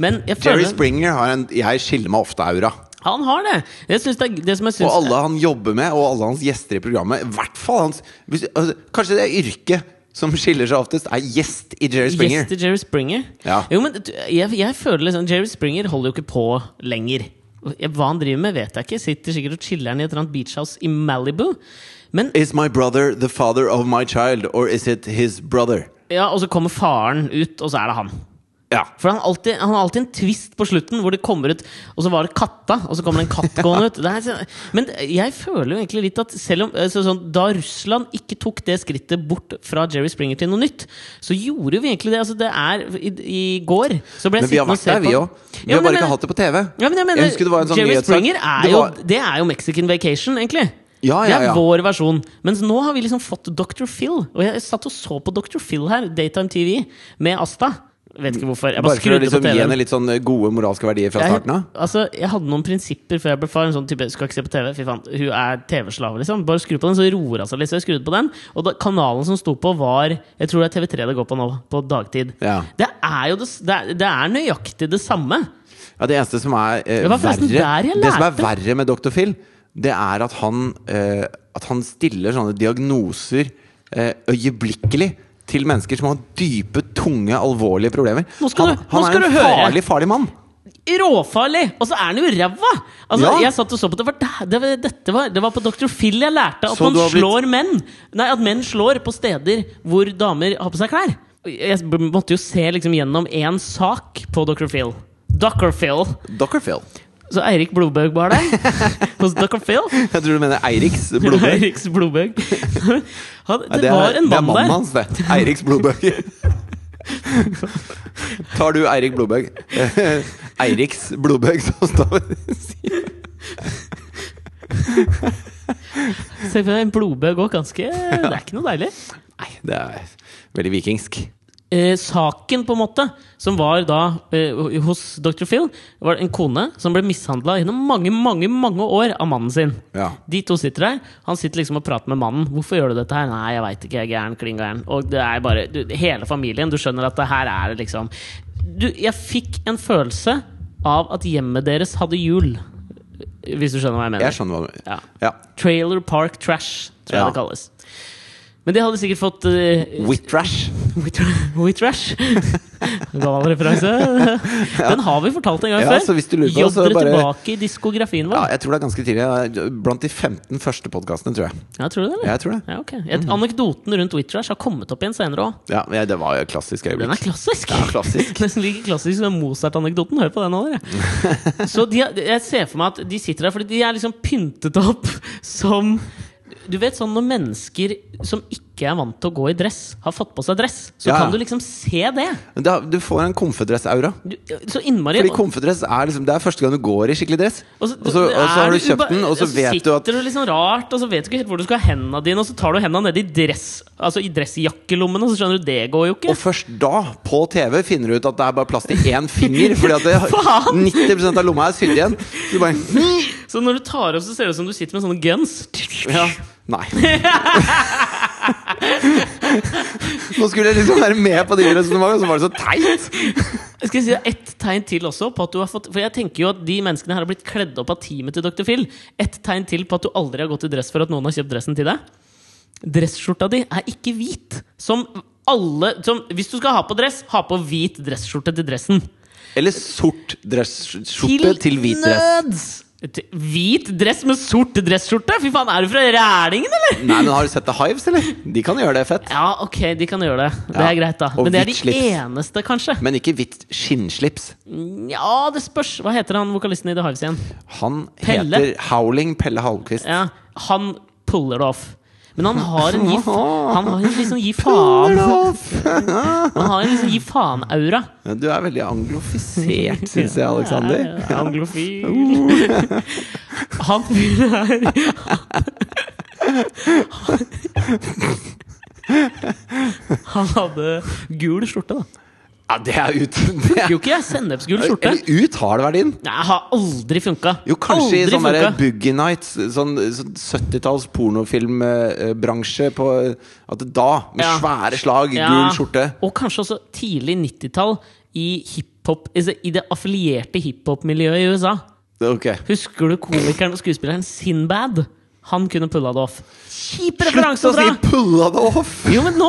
B: Men jeg
A: Jerry
B: føler
A: Springer har en Jeg skiller meg ofte-aura.
B: Han har det! Jeg synes det, er- det som jeg
A: Og
B: syns
A: alle han jobber med, og alle hans gjester i programmet. I hvert fall hans hvis, altså, Kanskje det yrket som skiller seg oftest, er gjest i Jerry Springer.
B: Yes til Jerry Springer.
A: Ja.
B: Jo, men du- jeg, jeg føler liksom Jerry Springer holder jo ikke på lenger. Jeg- Hva han driver med, vet jeg ikke. Sitter sikkert og chiller'n i et eller annet beachhouse i Malibu. Men
A: Is my brother the father of my child, or is it his brother?
B: ja, Og så kommer faren ut, og så er det han.
A: Ja.
B: For han, alltid, han har alltid en twist på slutten hvor det kommer ut Og så var det katta, og så kommer det en katt gående ut. Det er, så- men jeg føler jo egentlig litt at selv om altså, sånn, Da Russland ikke tok det skrittet bort fra Jerry Springer til noe nytt, så gjorde vi egentlig det. Altså, det er I, i går så ble jeg
A: Men vi har
B: sittende og
A: vært
B: se
A: der, vi
B: på-
A: òg. Vi har
B: Ja, men
A: bare
B: jeg
A: ikke
B: mener-
A: hatt det på TV.
B: Ja, men jeg mener,
A: Jeg husker det var en sånn
B: Jerry
A: nyhetssak.
B: Springer er
A: Det
B: jo,
A: var-
B: det er jo Mexican Vacation, egentlig.
A: Ja, Ah, ja,
B: Det
A: ja.
B: er vår versjon. Mens nå har vi liksom fått Dr. Phil. Og jeg satt og så på Dr. Phil her, Daytime TV, med Asta. Vet ikke hvorfor. Jeg bare,
A: Bare for å
B: skrudde
A: liksom
B: på
A: gi
B: TV-en.
A: henne litt sånn gode moralske verdier fra starten av?
B: Jeg, altså, jeg hadde noen prinsipper før jeg ble far. En sånn type, skal ikke se på TV, fy faen, Hun er TV-slave, liksom. Bare skru på den, så roer hun seg litt. Så jeg skrudde på den. Og da, kanalen som sto på, var Jeg tror det er TV3 det går på nå, på dagtid.
A: Ja.
B: Det er jo det, s- det, er, det er nøyaktig det samme.
A: Ja, det eneste som er eh,
B: Det var forresten der
A: verre
B: jeg
A: Det som er
B: lærte.
A: verre med Dr. Phil, det er at han eh, At han stiller sånne diagnoser eh, øyeblikkelig til mennesker som har dype, tunge, alvorlige problemer.
B: Nå skal
A: han
B: du- nå
A: han
B: skal
A: er en
B: du høre.
A: farlig, farlig mann!
B: Råfarlig! Og så er den jo ræva! Altså,
A: Ja.
B: Jeg satt og så på det, for det, det, var- dette var, det var på Dr. Phil jeg lærte at
A: Så
B: man
A: du har blitt-
B: slår menn. Nei, at menn slår på steder hvor damer har på seg klær. Jeg b- måtte jo se liksom gjennom én sak på Dr. Phil. Dr. Phil.
A: Dr. Phil.
B: Så Eirik Blodbøg var der. Hos Dr. Phil.
A: Jeg tror du mener Eiriks blodbøy.
B: Eiriks Blodbøg. Han,
A: Nei,
B: det, var en
A: det er
B: mann
A: mannen
B: der.
A: hans, det. Eiriks blodbøy. Tar du Eirik Blodbøg eh, Eiriks blodbøg, så står
B: Se for deg en blodbøg òg. Ganske Det er ikke noe deilig.
A: Nei, det er veldig vikingsk.
B: eh, saken, på en måte, som var da eh, hos Dr. Phil, var det en kone som ble mishandla gjennom mange, mange mange år av mannen sin.
A: Ja.
B: De to sitter der. Han sitter liksom og prater med mannen. 'Hvorfor gjør du dette her?' 'Nei, jeg veit ikke. Jeg er gæren. Kling gæren.' Og det er bare du, hele familien. Du skjønner at det her er det liksom du, Jeg fikk en følelse av at hjemmet deres hadde jul. Hvis du skjønner hva jeg mener.
A: Jeg skjønner hva du mener.
B: Ja.
A: Ja.
B: Trailer Park Trash, tror jeg
A: Ja.
B: det kalles. Men det hadde sikkert fått eh,
A: Whitrash.
B: Whitrash. Gal referanse. Den har vi fortalt en gang
A: Ja,
B: før.
A: så hvis du lurer på,
B: Jobb
A: så
B: dere
A: bare-
B: tilbake i
A: Ja,
B: diskografien vår.
A: jeg tror det er ganske tidlig. Det er Blant de 15 første podkastene, tror jeg.
B: Ja, tror du det? eller?
A: Jeg tror det.
B: Ja, ok. Et,
A: Mm.
B: anekdoten rundt Whitrash har kommet opp igjen senere òg.
A: Ja, men Det var jo et klassisk
B: Den er
A: øyeblikk.
B: klassisk!
A: Ja, klassisk.
B: Nesten like klassisk som Mozart-anekdoten. Hør på den nå, dere. Så de, har- jeg ser for meg at de sitter der, fordi de er liksom pyntet opp som du vet sånn Når mennesker som ikke er vant til å gå i dress, har fått på seg dress, så
A: Ja, ja.
B: kan du liksom se det.
A: Men Da, du får en konfedress-aura.
B: Du, så innmari
A: Fordi konfedress er liksom Det er første gang du går i skikkelig dress. Og så, og så
B: er
A: har du
B: det uba-
A: kjøpt den, og så vet du at
B: sitter du liksom rart, og så vet du ikke helt hvor du skal ha hendene dine, og så tar du hendene ned i dress Altså i dressjakkelommen, og så skjønner du det går jo ikke.
A: og først da, på TV, finner du ut at det er bare plass til én finger. Fordi at det,
B: Faen!
A: 90 av lomma er sydd igjen. Så du bare hm,
B: Så når du tar opp, så ser det ut som du sitter med sånne guns.
A: ja, Nei. Nå skulle jeg liksom være med på de resonnementene, og så var det så teit!
B: Jeg skal si deg ett tegn til også på at du har fått For jeg tenker jo at de menneskene her har blitt kledd opp av teamet til Dr. Phil. Ett tegn til på at du aldri har gått i dress for at noen har kjøpt dressen til deg. Dressskjorta di er ikke hvit. Som alle som, Hvis du skal ha på dress, ha på hvit dressskjorte til dressen.
A: Eller sort dressskjorte til hvit dress.
B: Nøds! Til- Hvit dress med sort dresskjorte? Fy faen, er du fra Rælingen, eller?
A: Nei, men Har du sett The Hives, eller? De kan gjøre det fett.
B: Ja, ok, de kan gjøre det. Det
A: Ja,
B: er greit, da.
A: og
B: Men det er de
A: hvitt slips.
B: eneste, kanskje.
A: Men ikke hvitt skinnslips.
B: Ja, det spørs. Hva heter han vokalisten i The Hives igjen?
A: Han
B: Pelle.
A: heter Howling Pelle Halvquist.
B: Ja, han puller det off. Men han har en gi, han har en liksom gi faen
A: Olof!
B: Han har en liksom gi faen-aura.
A: Du er veldig anglofisert, syns jeg, Aleksander.
B: Ja, Anglofil.
A: Uh.
B: Han fyren her Han hadde gul skjorte, da.
A: Ja, det er ut. Det er,
B: Jo ikke jeg sennepsgul skjorte.
A: eller ut har det verdien.
B: Nei, jeg har aldri funka.
A: Jo, kanskje i
B: aldri
A: sånn derre
B: funka.
A: Boogie Nights, sånn, sånn 70-talls pornofilmbransje på At det da, med
B: Ja.
A: svære slag,
B: Ja,
A: gul skjorte
B: Og kanskje også tidlig 90-tall i hiphop altså I det affilierte hiphop-miljøet i USA.
A: Ok.
B: Husker du komikeren og skuespilleren Sinbad? Han kunne pulla det off. Kjip
A: Slutt
B: referanse
A: å
B: å
A: si
B: dra!
A: 'pulla det off'!
B: Jo, men nå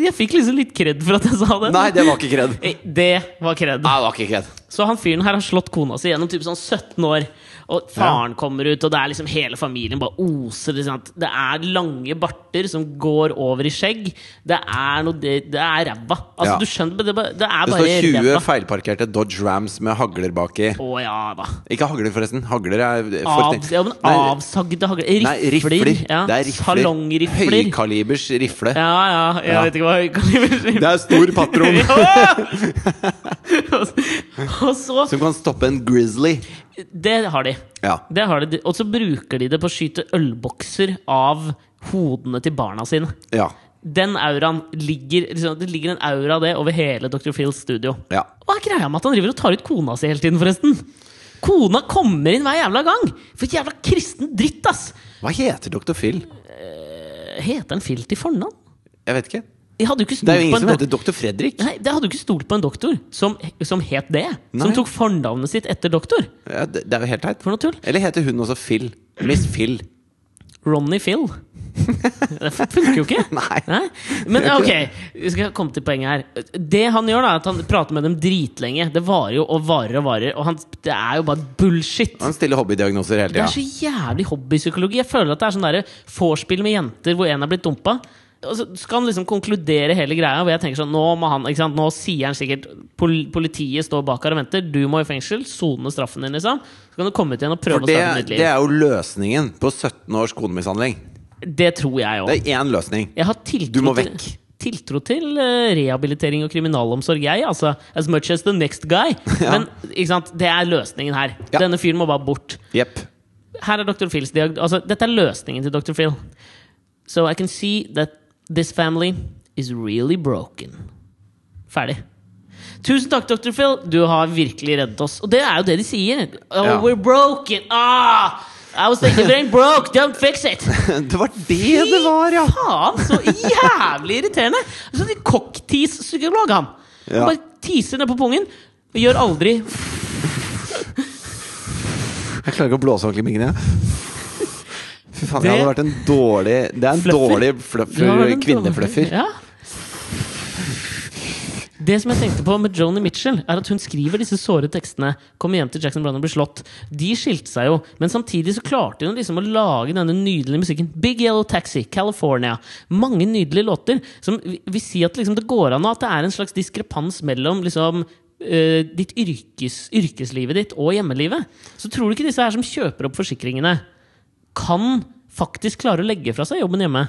B: Jeg fikk liksom litt kred for at jeg sa det.
A: Nei, det var Ah. ikke kred. Nei,
B: Eh, Det var kred.
A: det var ikke kred.
B: Så han fyren her har slått kona si gjennom typ sånn 17 år. Og faren kommer ut, og det er liksom hele familien bare oser. Ikke sant? Det er lange barter som går over i skjegg. Det er noe Det, det er ræva. Altså,
A: Ja.
B: du skjønner det, er bare- det er
A: Det
B: bare
A: står 20
B: ræva.
A: feilparkerte Dodge Rams med hagler baki.
B: Å ja da.
A: Ikke hagler, forresten. Hagler er for-
B: Av, ja, men
A: Nei,
B: avsagde hagler. Rifler.
A: Nei, rifler.
B: Ja.
A: Det er rifler.
B: Salongrifler.
A: Høykalibers rifle.
B: Ja, ja. Jeg
A: Ja.
B: vet ikke hva høykalibers
A: Det er stor patron
B: Og så
A: som kan stoppe en grizzly.
B: Det har de.
A: Ja.
B: Det har de. Og så bruker de det på å skyte ølbokser av hodene til barna sine.
A: ja.
B: Den auraen ligger liksom, Det ligger en aura av det over hele Dr. Phils studio.
A: Ja.
B: Hva er greia med at han driver og tar ut kona si hele tiden, forresten? Kona kommer inn hver jævla gang! For et jævla kristen dritt, ass!
A: Hva heter Dr. Phil?
B: Heter han Phil til fornavn?
A: Jeg vet ikke.
B: Jeg hadde jo ikke
A: Det er jo
B: stolt på
A: ingen
B: en
A: som heter
B: doktor
A: Dr. Fredrik.
B: Nei, jeg hadde jo ikke stolt på en doktor som, som het det.
A: Nei.
B: Som tok fornavnet sitt etter doktor.
A: Ja, det, det er jo helt teit.
B: For noe tull.
A: Eller heter hun også Phil? Miss Phil.
B: Ronny Phil. Det funker jo ikke.
A: Nei.
B: Men ok, vi skal komme til poenget her. Det han gjør, da, er at han prater med dem dritlenge. Det varer jo og varer og varer. Og han, det er jo bare bullshit.
A: Han stiller hobbydiagnoser hele
B: Det
A: tida.
B: er så jævlig hobbypsykologi. Jeg føler at det er sånn derre vorspiel med jenter hvor en er blitt dumpa. Og så skal han liksom konkludere hele greia, hvor jeg tenker sånn Nå må han, ikke sant? Nå sier han sikkert pol Politiet står bak her og venter. Du må i fengsel. Sone straffen din, liksom. Så kan du komme ut igjen og prøve
A: For
B: å
A: det,
B: starte et nytt
A: det
B: liv.
A: er jo løsningen på 17 års konemishandling.
B: Det tror jeg òg.
A: Det er én løsning.
B: Jeg har
A: Du
B: tiltro
A: må
B: til,
A: vekk.
B: tiltro til eh, rehabilitering og kriminalomsorg, jeg. Altså, as much as the next guy.
A: Ja.
B: Men ikke sant? det er løsningen her.
A: Ja.
B: Denne fyren må bare bort.
A: Jepp.
B: Her er Dr. Phils diag- altså, Dette er løsningen til Dr. Phil. So I can see that this family is really broken. Ferdig. Tusen takk, Dr. Phil. Du har virkelig reddet oss. Og det er jo det de sier. Oh,
A: Ja.
B: we're broken. Ah! I was thinking, it ain't broke. Don't fix it.
A: Det var det det var, ja!
B: Faen, så jævlig irriterende! Sånn en cocktease-psykolog, han.
A: Ja.
B: Han bare teaser ned på pungen. Og gjør aldri
A: Jeg klarer ikke å blåse ordentlig i mingene. Fy faen,
B: Det-
A: jeg hadde vært en dårlig Det er en
B: Fluffer.
A: dårlig
B: Du har
A: fluffer,
B: vært en
A: kvinnefluffer.
B: dårlig- Ja. Det som jeg tenkte på med Joni Mitchell, er at hun skriver disse såre tekstene. Kommer hjem til Jackson Brown og blir slått. De skilte seg jo, men samtidig så klarte hun liksom å lage denne nydelige musikken. Big Yellow Taxi, California. Mange nydelige låter som vi- vil si at liksom det går an, og at det er en slags diskrepans mellom liksom eh, ditt yrkes, yrkeslivet ditt og hjemmelivet. Så tror du ikke disse her som kjøper opp forsikringene, kan faktisk klare å legge fra seg jobben hjemme?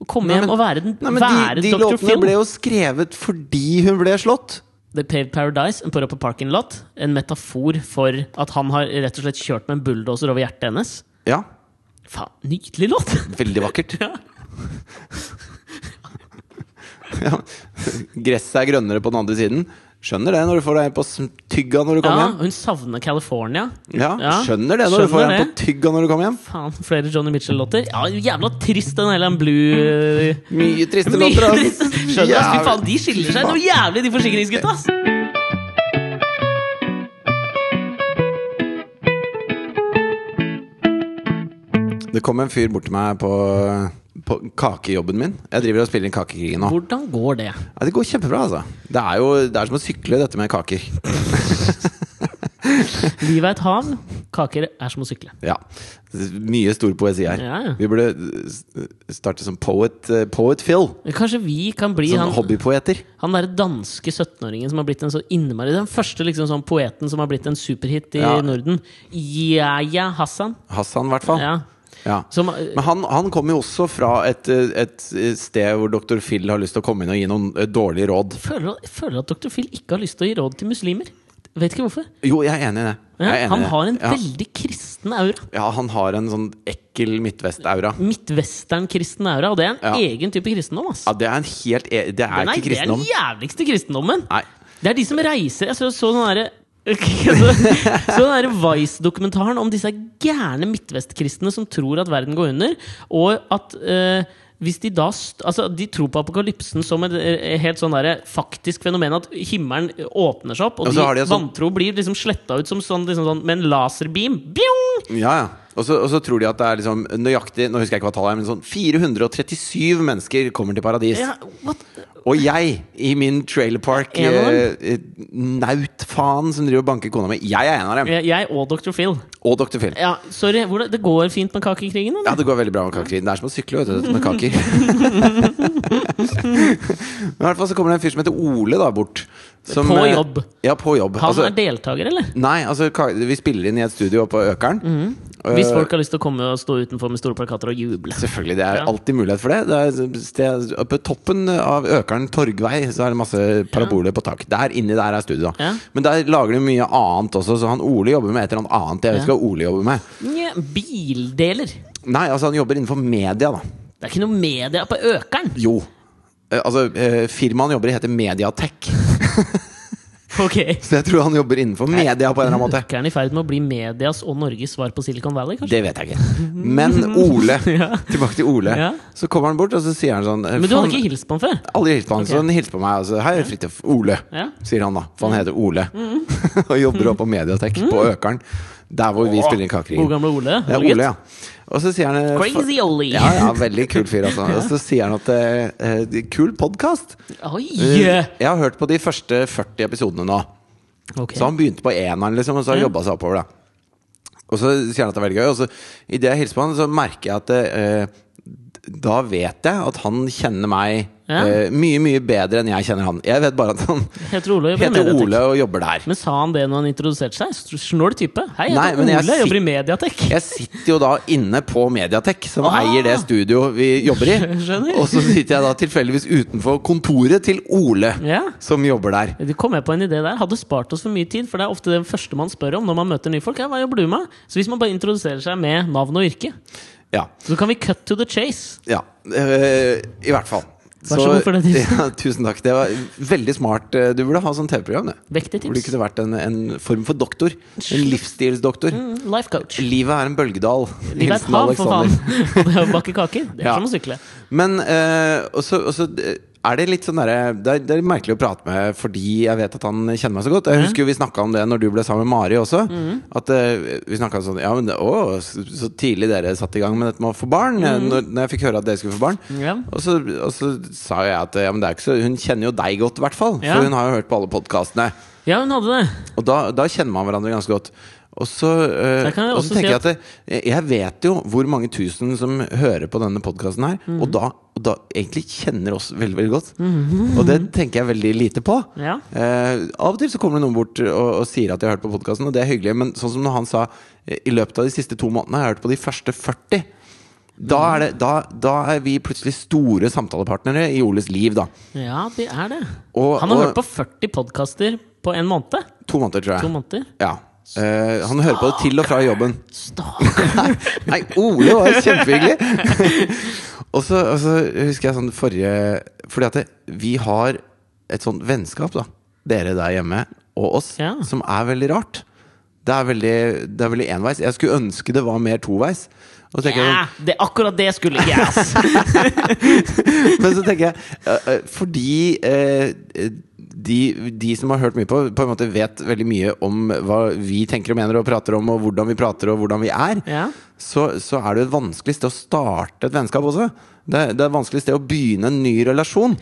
B: Og komme
A: Nei,
B: hjem
A: men-
B: og være, den,
A: Nei, men
B: være
A: de, de
B: Dr.
A: låtene
B: Phil?
A: ble jo skrevet fordi hun ble slått.
B: The Paved Paradise and Put Up a Parking Lot. En metafor for at han har rett og slett kjørt med en bulldoser over hjertet hennes.
A: Ja,
B: Faen, nydelig låt!
A: veldig vakkert. Ja. Gresset er grønnere på den andre siden. Skjønner det når du får deg på s- tygga når du
B: Ja,
A: kommer hjem.
B: hun savner California.
A: Ja,
B: Ja,
A: Skjønner det når du får
B: skjønner
A: deg på tygga når du kommer hjem.
B: Faen, flere Johnny Mitchell-låter. Ja, Jævla trist, den hele den blue
A: Mye triste
B: Mye
A: låter. ass.
B: trist. Skjønner, ass. Fy
A: Jævlig-
B: faen, de skiller seg noe jævlig, de forsikringsgutta! ass.
A: Det kom en fyr bort til meg på, på kakejobben min. Jeg driver og spiller inn Kakekrigen nå.
B: Hvordan går det?
A: Ja, det går kjempebra, altså. Det er jo det er som å sykle, dette med kaker.
B: Livet er et hav. Kaker er som å sykle.
A: Ja. Mye stor poesi her.
B: Ja, ja.
A: Vi burde s- starte som poet, eh, poet Phil.
B: Kanskje vi kan bli
A: Sånn
B: han
A: hobbypoeter.
B: Han derre danske 17-åringen som har blitt en så innmari Den første liksom sånn poeten som har blitt en superhit i
A: Ja.
B: Norden. Yahya Hassan.
A: Hassan, i hvert fall. Ja.
B: Ja. Som, eh,
A: Men han, han kommer jo også fra et, eh, et sted hvor dr. Phil har lyst til å komme inn og gi noen eh, dårlige råd.
B: føler, føler at dr. Phil ikke har lyst til å gi råd til muslimer. Vet ikke hvorfor.
A: Jo, jeg er enig i det.
B: Ja,
A: Jeg er enig i
B: han
A: det.
B: har en
A: ja.
B: veldig kristen aura.
A: ja, han har en sånn ekkel midtvest-aura.
B: Midtvestern-kristen aura. Og det er en
A: Ja.
B: egen type kristendom. Ass.
A: Ja, det er en helt e Det er
B: Den er,
A: ikke
B: det er den
A: kristendom.
B: jævligste kristendommen!
A: Nei.
B: Det er de som reiser Jeg så, så den derre så, så den der Vice-dokumentaren om disse gærne midtvestkristne som tror at verden går under, og at eh, hvis de da st Altså, de tror på apokalypsen som et eh, helt sånn derre faktisk fenomen, at himmelen åpner seg opp, og,
A: Og så
B: de,
A: har de en sånn-
B: vantro blir liksom sletta ut som sånn, liksom sånn med en laserbeam. Bjong!
A: Ja, ja. Og så, og så tror de at det er liksom nøyaktig Nå husker jeg ikke hva tallet er, men sånn 437 mennesker kommer til paradis.
B: Ja, what?
A: Og jeg, i min trailerpark
B: En av
A: eh, eh, nautfaen som driver og banker kona mi, jeg er en av dem.
B: Jeg, jeg og dr. Phil.
A: Og dr. Phil.
B: Ja, sorry. Hvordan, det går fint med kakekrigen,
A: Ja,
B: eller?
A: det går veldig bra med kaker. Det er som å sykle vet du, dette med kaker. Men i hvert fall så kommer det en fyr som heter Ole da bort. Som,
B: På
A: eh,
B: jobb.
A: Ja, på jobb.
B: Han
A: Altså,
B: er deltaker, eller?
A: nei, altså ka- vi spiller inn i et studio på Økeren.
B: Hvis
A: Eh,
B: folk har lyst til å komme og stå utenfor med store plakater og juble.
A: Selvfølgelig, det er
B: Ja.
A: alltid mulighet for det. det er sted, oppe toppen av Økeren Torgvei Så er det masse paraboler på tak. Der inni der er studio. da.
B: Ja.
A: Men der lager de mye annet også, så han Ole jobber med et eller annet annet. Jeg vet
B: Ja.
A: ikke hva Ole jobber med
B: Nja, bildeler.
A: Nei, altså han jobber innenfor media, da.
B: Det Det er ikke noe media på økeren!
A: Jo. Eh, Altså, eh, firmaet han jobber i, heter Mediatek.
B: Ok
A: Så jeg tror han jobber innenfor media på en eller annen måte.
B: Økeren i ferd med å bli medias og Norges svar på Silicon Valley, kanskje?
A: Det vet jeg ikke. Men Ole,
B: Ja.
A: tilbake til Ole.
B: Ja.
A: Så kommer han bort, og så sier han sånn eh,
B: Men du hadde
A: faen-
B: ikke hilst på han før?
A: Aldri hilst på han, så han hilste på meg. Altså, Hei, Fridtjof. Ole,
B: Ja. Mm.
A: sier han da. For han heter Ole. og jobber oppe på Mediatek, på Økeren. Der hvor vi spiller inn
B: God
A: Kakerigen.
B: gamle Ole?
A: Det er
B: Ole, gutt.
A: Ole, ja. Og så sier han eh,
B: Crazy Ole!
A: Ja, ja, veldig kul fyr, altså. Og så sier han at eh, eh, Kul podkast!
B: Oi!
A: Jeg har hørt på de første 40 episodene nå.
B: Ok.
A: Så han begynte på eneren, liksom, og så har han jobba seg oppover. da Og så sier han at det er veldig gøy, og så idet jeg hilser på han, så merker jeg at eh, Da vet jeg at han kjenner meg
B: Ja.
A: eh, mye, mye bedre enn jeg kjenner han. Jeg vet bare at han
B: Heter Ole og jobber i
A: heter
B: Mediatek.
A: Ole og jobber der.
B: Men sa han det når han introduserte seg? Sn- Snål type. Hei, jeg
A: Nei,
B: heter
A: men jeg
B: Ole, jeg jobber i
A: sit-
B: Mediatek.
A: Jeg sitter jo da inne på Mediatek, som
B: Ah!
A: eier det studio vi jobber i.
B: Skjønner.
A: Og så sitter jeg da tilfeldigvis utenfor kontoret til Ole,
B: Ja.
A: som jobber der.
B: Du kom jeg på en idé der. Hadde spart oss for mye tid, for det er ofte det første man spør om når man møter nye folk. Ja, hva jobber du med? Så hvis man bare introduserer seg med navn og yrke,
A: Ja,
B: så kan vi cut to the chase.
A: ja. Eh, I hvert fall.
B: Vær så god for det tipset.
A: Ja, tusen takk. Det var veldig smart. Eh, Du burde ha sånn TV-program. du.
B: Vektig
A: Burde
B: tips.
A: ikke du vært en, en form for doktor? En livsstilsdoktor.
B: Mm, Life coach.
A: Livet er en bølgedal.
B: Livet er et hav, for faen. Og det å bake kaker, det er
A: Ja.
B: som å sykle.
A: Men eh, også, også eh, er det litt sånn derre det, er- det er merkelig å prate med fordi jeg vet at han kjenner meg så godt. Jeg husker jo vi snakka om det når du ble sammen med Mari også.
B: Mm.
A: At eh, vi snakka sånn Ja, men det, å, så så tidlig dere satte i gang med dette med å få barn. eh, Når, når jeg fikk høre at dere skulle få barn.
B: Mm. Ja.
A: Og, så, og så sa jo jeg at ja, men det er ikke så, hun kjenner jo deg godt, i hvert fall.
B: Ja.
A: For hun har jo hørt på alle podkastene.
B: ja, hun hadde det.
A: Og da, da kjenner man hverandre ganske godt. Og så, eh,
B: Der kan jeg
A: og så
B: også si
A: tenker jeg at det, jeg vet jo hvor mange tusen som hører på denne podkasten her,
B: Mhm.
A: og, da, og da egentlig kjenner oss veldig veldig godt. Og det tenker jeg veldig lite på.
B: Mhm. Ja.
A: Eh, av og til så kommer det noen bort og, og sier at de har hørt på podkasten, og det er hyggelig, men sånn som når han sa eh, i løpet av de siste to månedene har jeg hørt på de første 40. Da er, det, da, da er vi plutselig store samtalepartnere i Oles liv, da.
B: Ja, det er det.
A: Og-
B: Han har
A: og-
B: hørt på 40 podkaster på en måned.
A: To måneder, tror jeg.
B: To måneder.
A: Ja. Eh, han hører på det til og fra jobben.
B: Stakkar.
A: Nei, Ole var kjempehyggelig! og, så, og så husker jeg sånn forrige Fordi at det, vi har et sånt vennskap, da. Dere der hjemme og oss,
B: Ja.
A: som er veldig rart. Det er veldig, det er veldig enveis. Jeg skulle ønske det var mer toveis. Og så tenker jeg sånn,
B: Ja, det, akkurat det skulle ikke jeg, ass.
A: Men så tenker jeg eh, eh, Fordi eh, de, de som har hørt mye på, på en måte vet veldig mye om hva vi tenker og mener og prater om, og hvordan vi prater og hvordan vi er,
B: Ja.
A: så, så er det jo et vanskelig sted å starte et vennskap også. Det, det er et vanskelig sted å begynne en ny relasjon.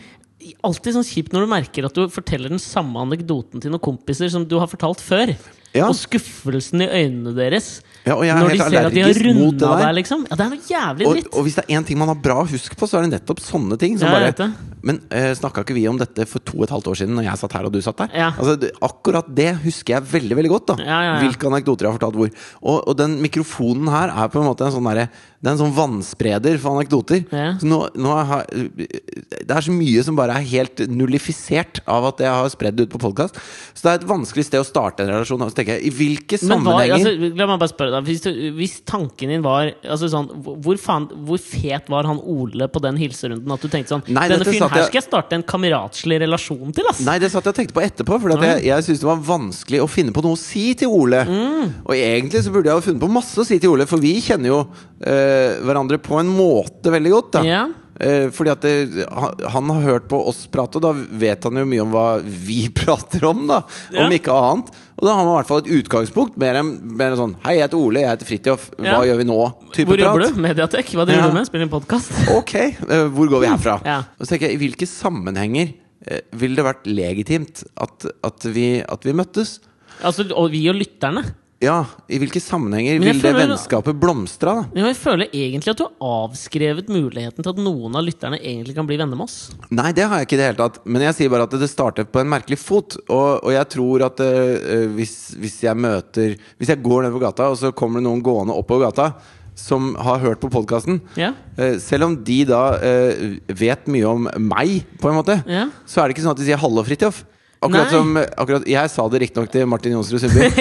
B: Alltid sånn kjipt når du merker at du forteller den samme anekdoten til noen kompiser som du har fortalt før.
A: Ja.
B: Og skuffelsen i øynene deres
A: Ja, og jeg er
B: når de
A: helt
B: ser at de har
A: allergisk mot det
B: runda
A: der.
B: deg, liksom. Ja, det er noe jævlig
A: Og,
B: dritt.
A: og hvis det er én ting man har bra husk på, så er det nettopp sånne ting. Som
B: Ja,
A: bare,
B: jeg vet
A: men uh, snakka ikke vi om dette for to og et halvt år siden, når jeg satt her og du satt der?
B: Ja.
A: Altså, det, akkurat det husker jeg veldig veldig godt. da
B: Ja, ja, ja.
A: Hvilke anekdoter jeg har fortalt hvor. Og, og den mikrofonen her er på en måte en sånn, derre- det er en sånn vannspreder for anekdoter.
B: Ja.
A: Så nå, nå har, det er så mye som bare er helt nullifisert av at jeg har spredd det ut på podkast. Så det er et vanskelig sted å starte en relasjon. Og så tenker jeg, i hvilke
B: Men hva,
A: sammenhenger
B: altså, la meg bare spørre deg hvis, du- hvis tanken din var altså sånn, hvor, faen, hvor fet var han Ole på den hilserunden? At du tenkte sånn
A: Nei,
B: Denne
A: dette
B: fyren
A: satt
B: her
A: jeg-
B: skal jeg starte en kameratslig relasjon til, ass!
A: Nei, det satt jeg og tenkte på etterpå, for jeg, jeg syntes det var vanskelig å finne på noe å si til Ole.
B: Mm.
A: Og egentlig så burde jeg ha funnet på masse å si til Ole, for vi kjenner jo eh, hverandre på en måte veldig godt. da
B: Ja.
A: Eh, fordi at det, han, han har hørt på oss prate, og da vet han jo mye om hva vi prater om, da.
B: Ja.
A: Om ikke annet. Og da har man i hvert fall et utgangspunkt, mer enn mer enn sånn Hei, jeg heter Ole, jeg heter Fridtjof, hva
B: Ja.
A: gjør vi nå? Type
B: Hvor
A: prat.
B: jobber du? Mediatek? Hva driver
A: Ja.
B: du med? Spiller en podkast?
A: Ok, eh, hvor går vi herfra?
B: Mm, Ja.
A: Og så tenker jeg, I hvilke sammenhenger eh, ville det vært legitimt at, at, vi, at vi møttes?
B: Altså, og vi og lytterne.
A: Ja, I hvilke sammenhenger
B: Men jeg
A: vil det
B: føler-
A: vennskapet blomstre? da?
B: Ja, jeg føler egentlig at du har avskrevet muligheten til at noen av lytterne egentlig kan bli venner med oss.
A: Nei, det har jeg ikke i det hele tatt. Men jeg sier bare at det startet på en merkelig fot. Og, og jeg tror at eh, hvis, hvis jeg møter Hvis jeg går nedover gata, og så kommer det noen gående oppover gata som har hørt på podkasten
B: Ja.
A: eh, Selv om de da eh, vet mye om meg, på en måte,
B: Ja.
A: så er det ikke sånn at de sier 'hallo, Fridtjof'. Akkurat
B: Nei.
A: som akkurat, Jeg sa det riktignok til Martin Jonsrud Sundby,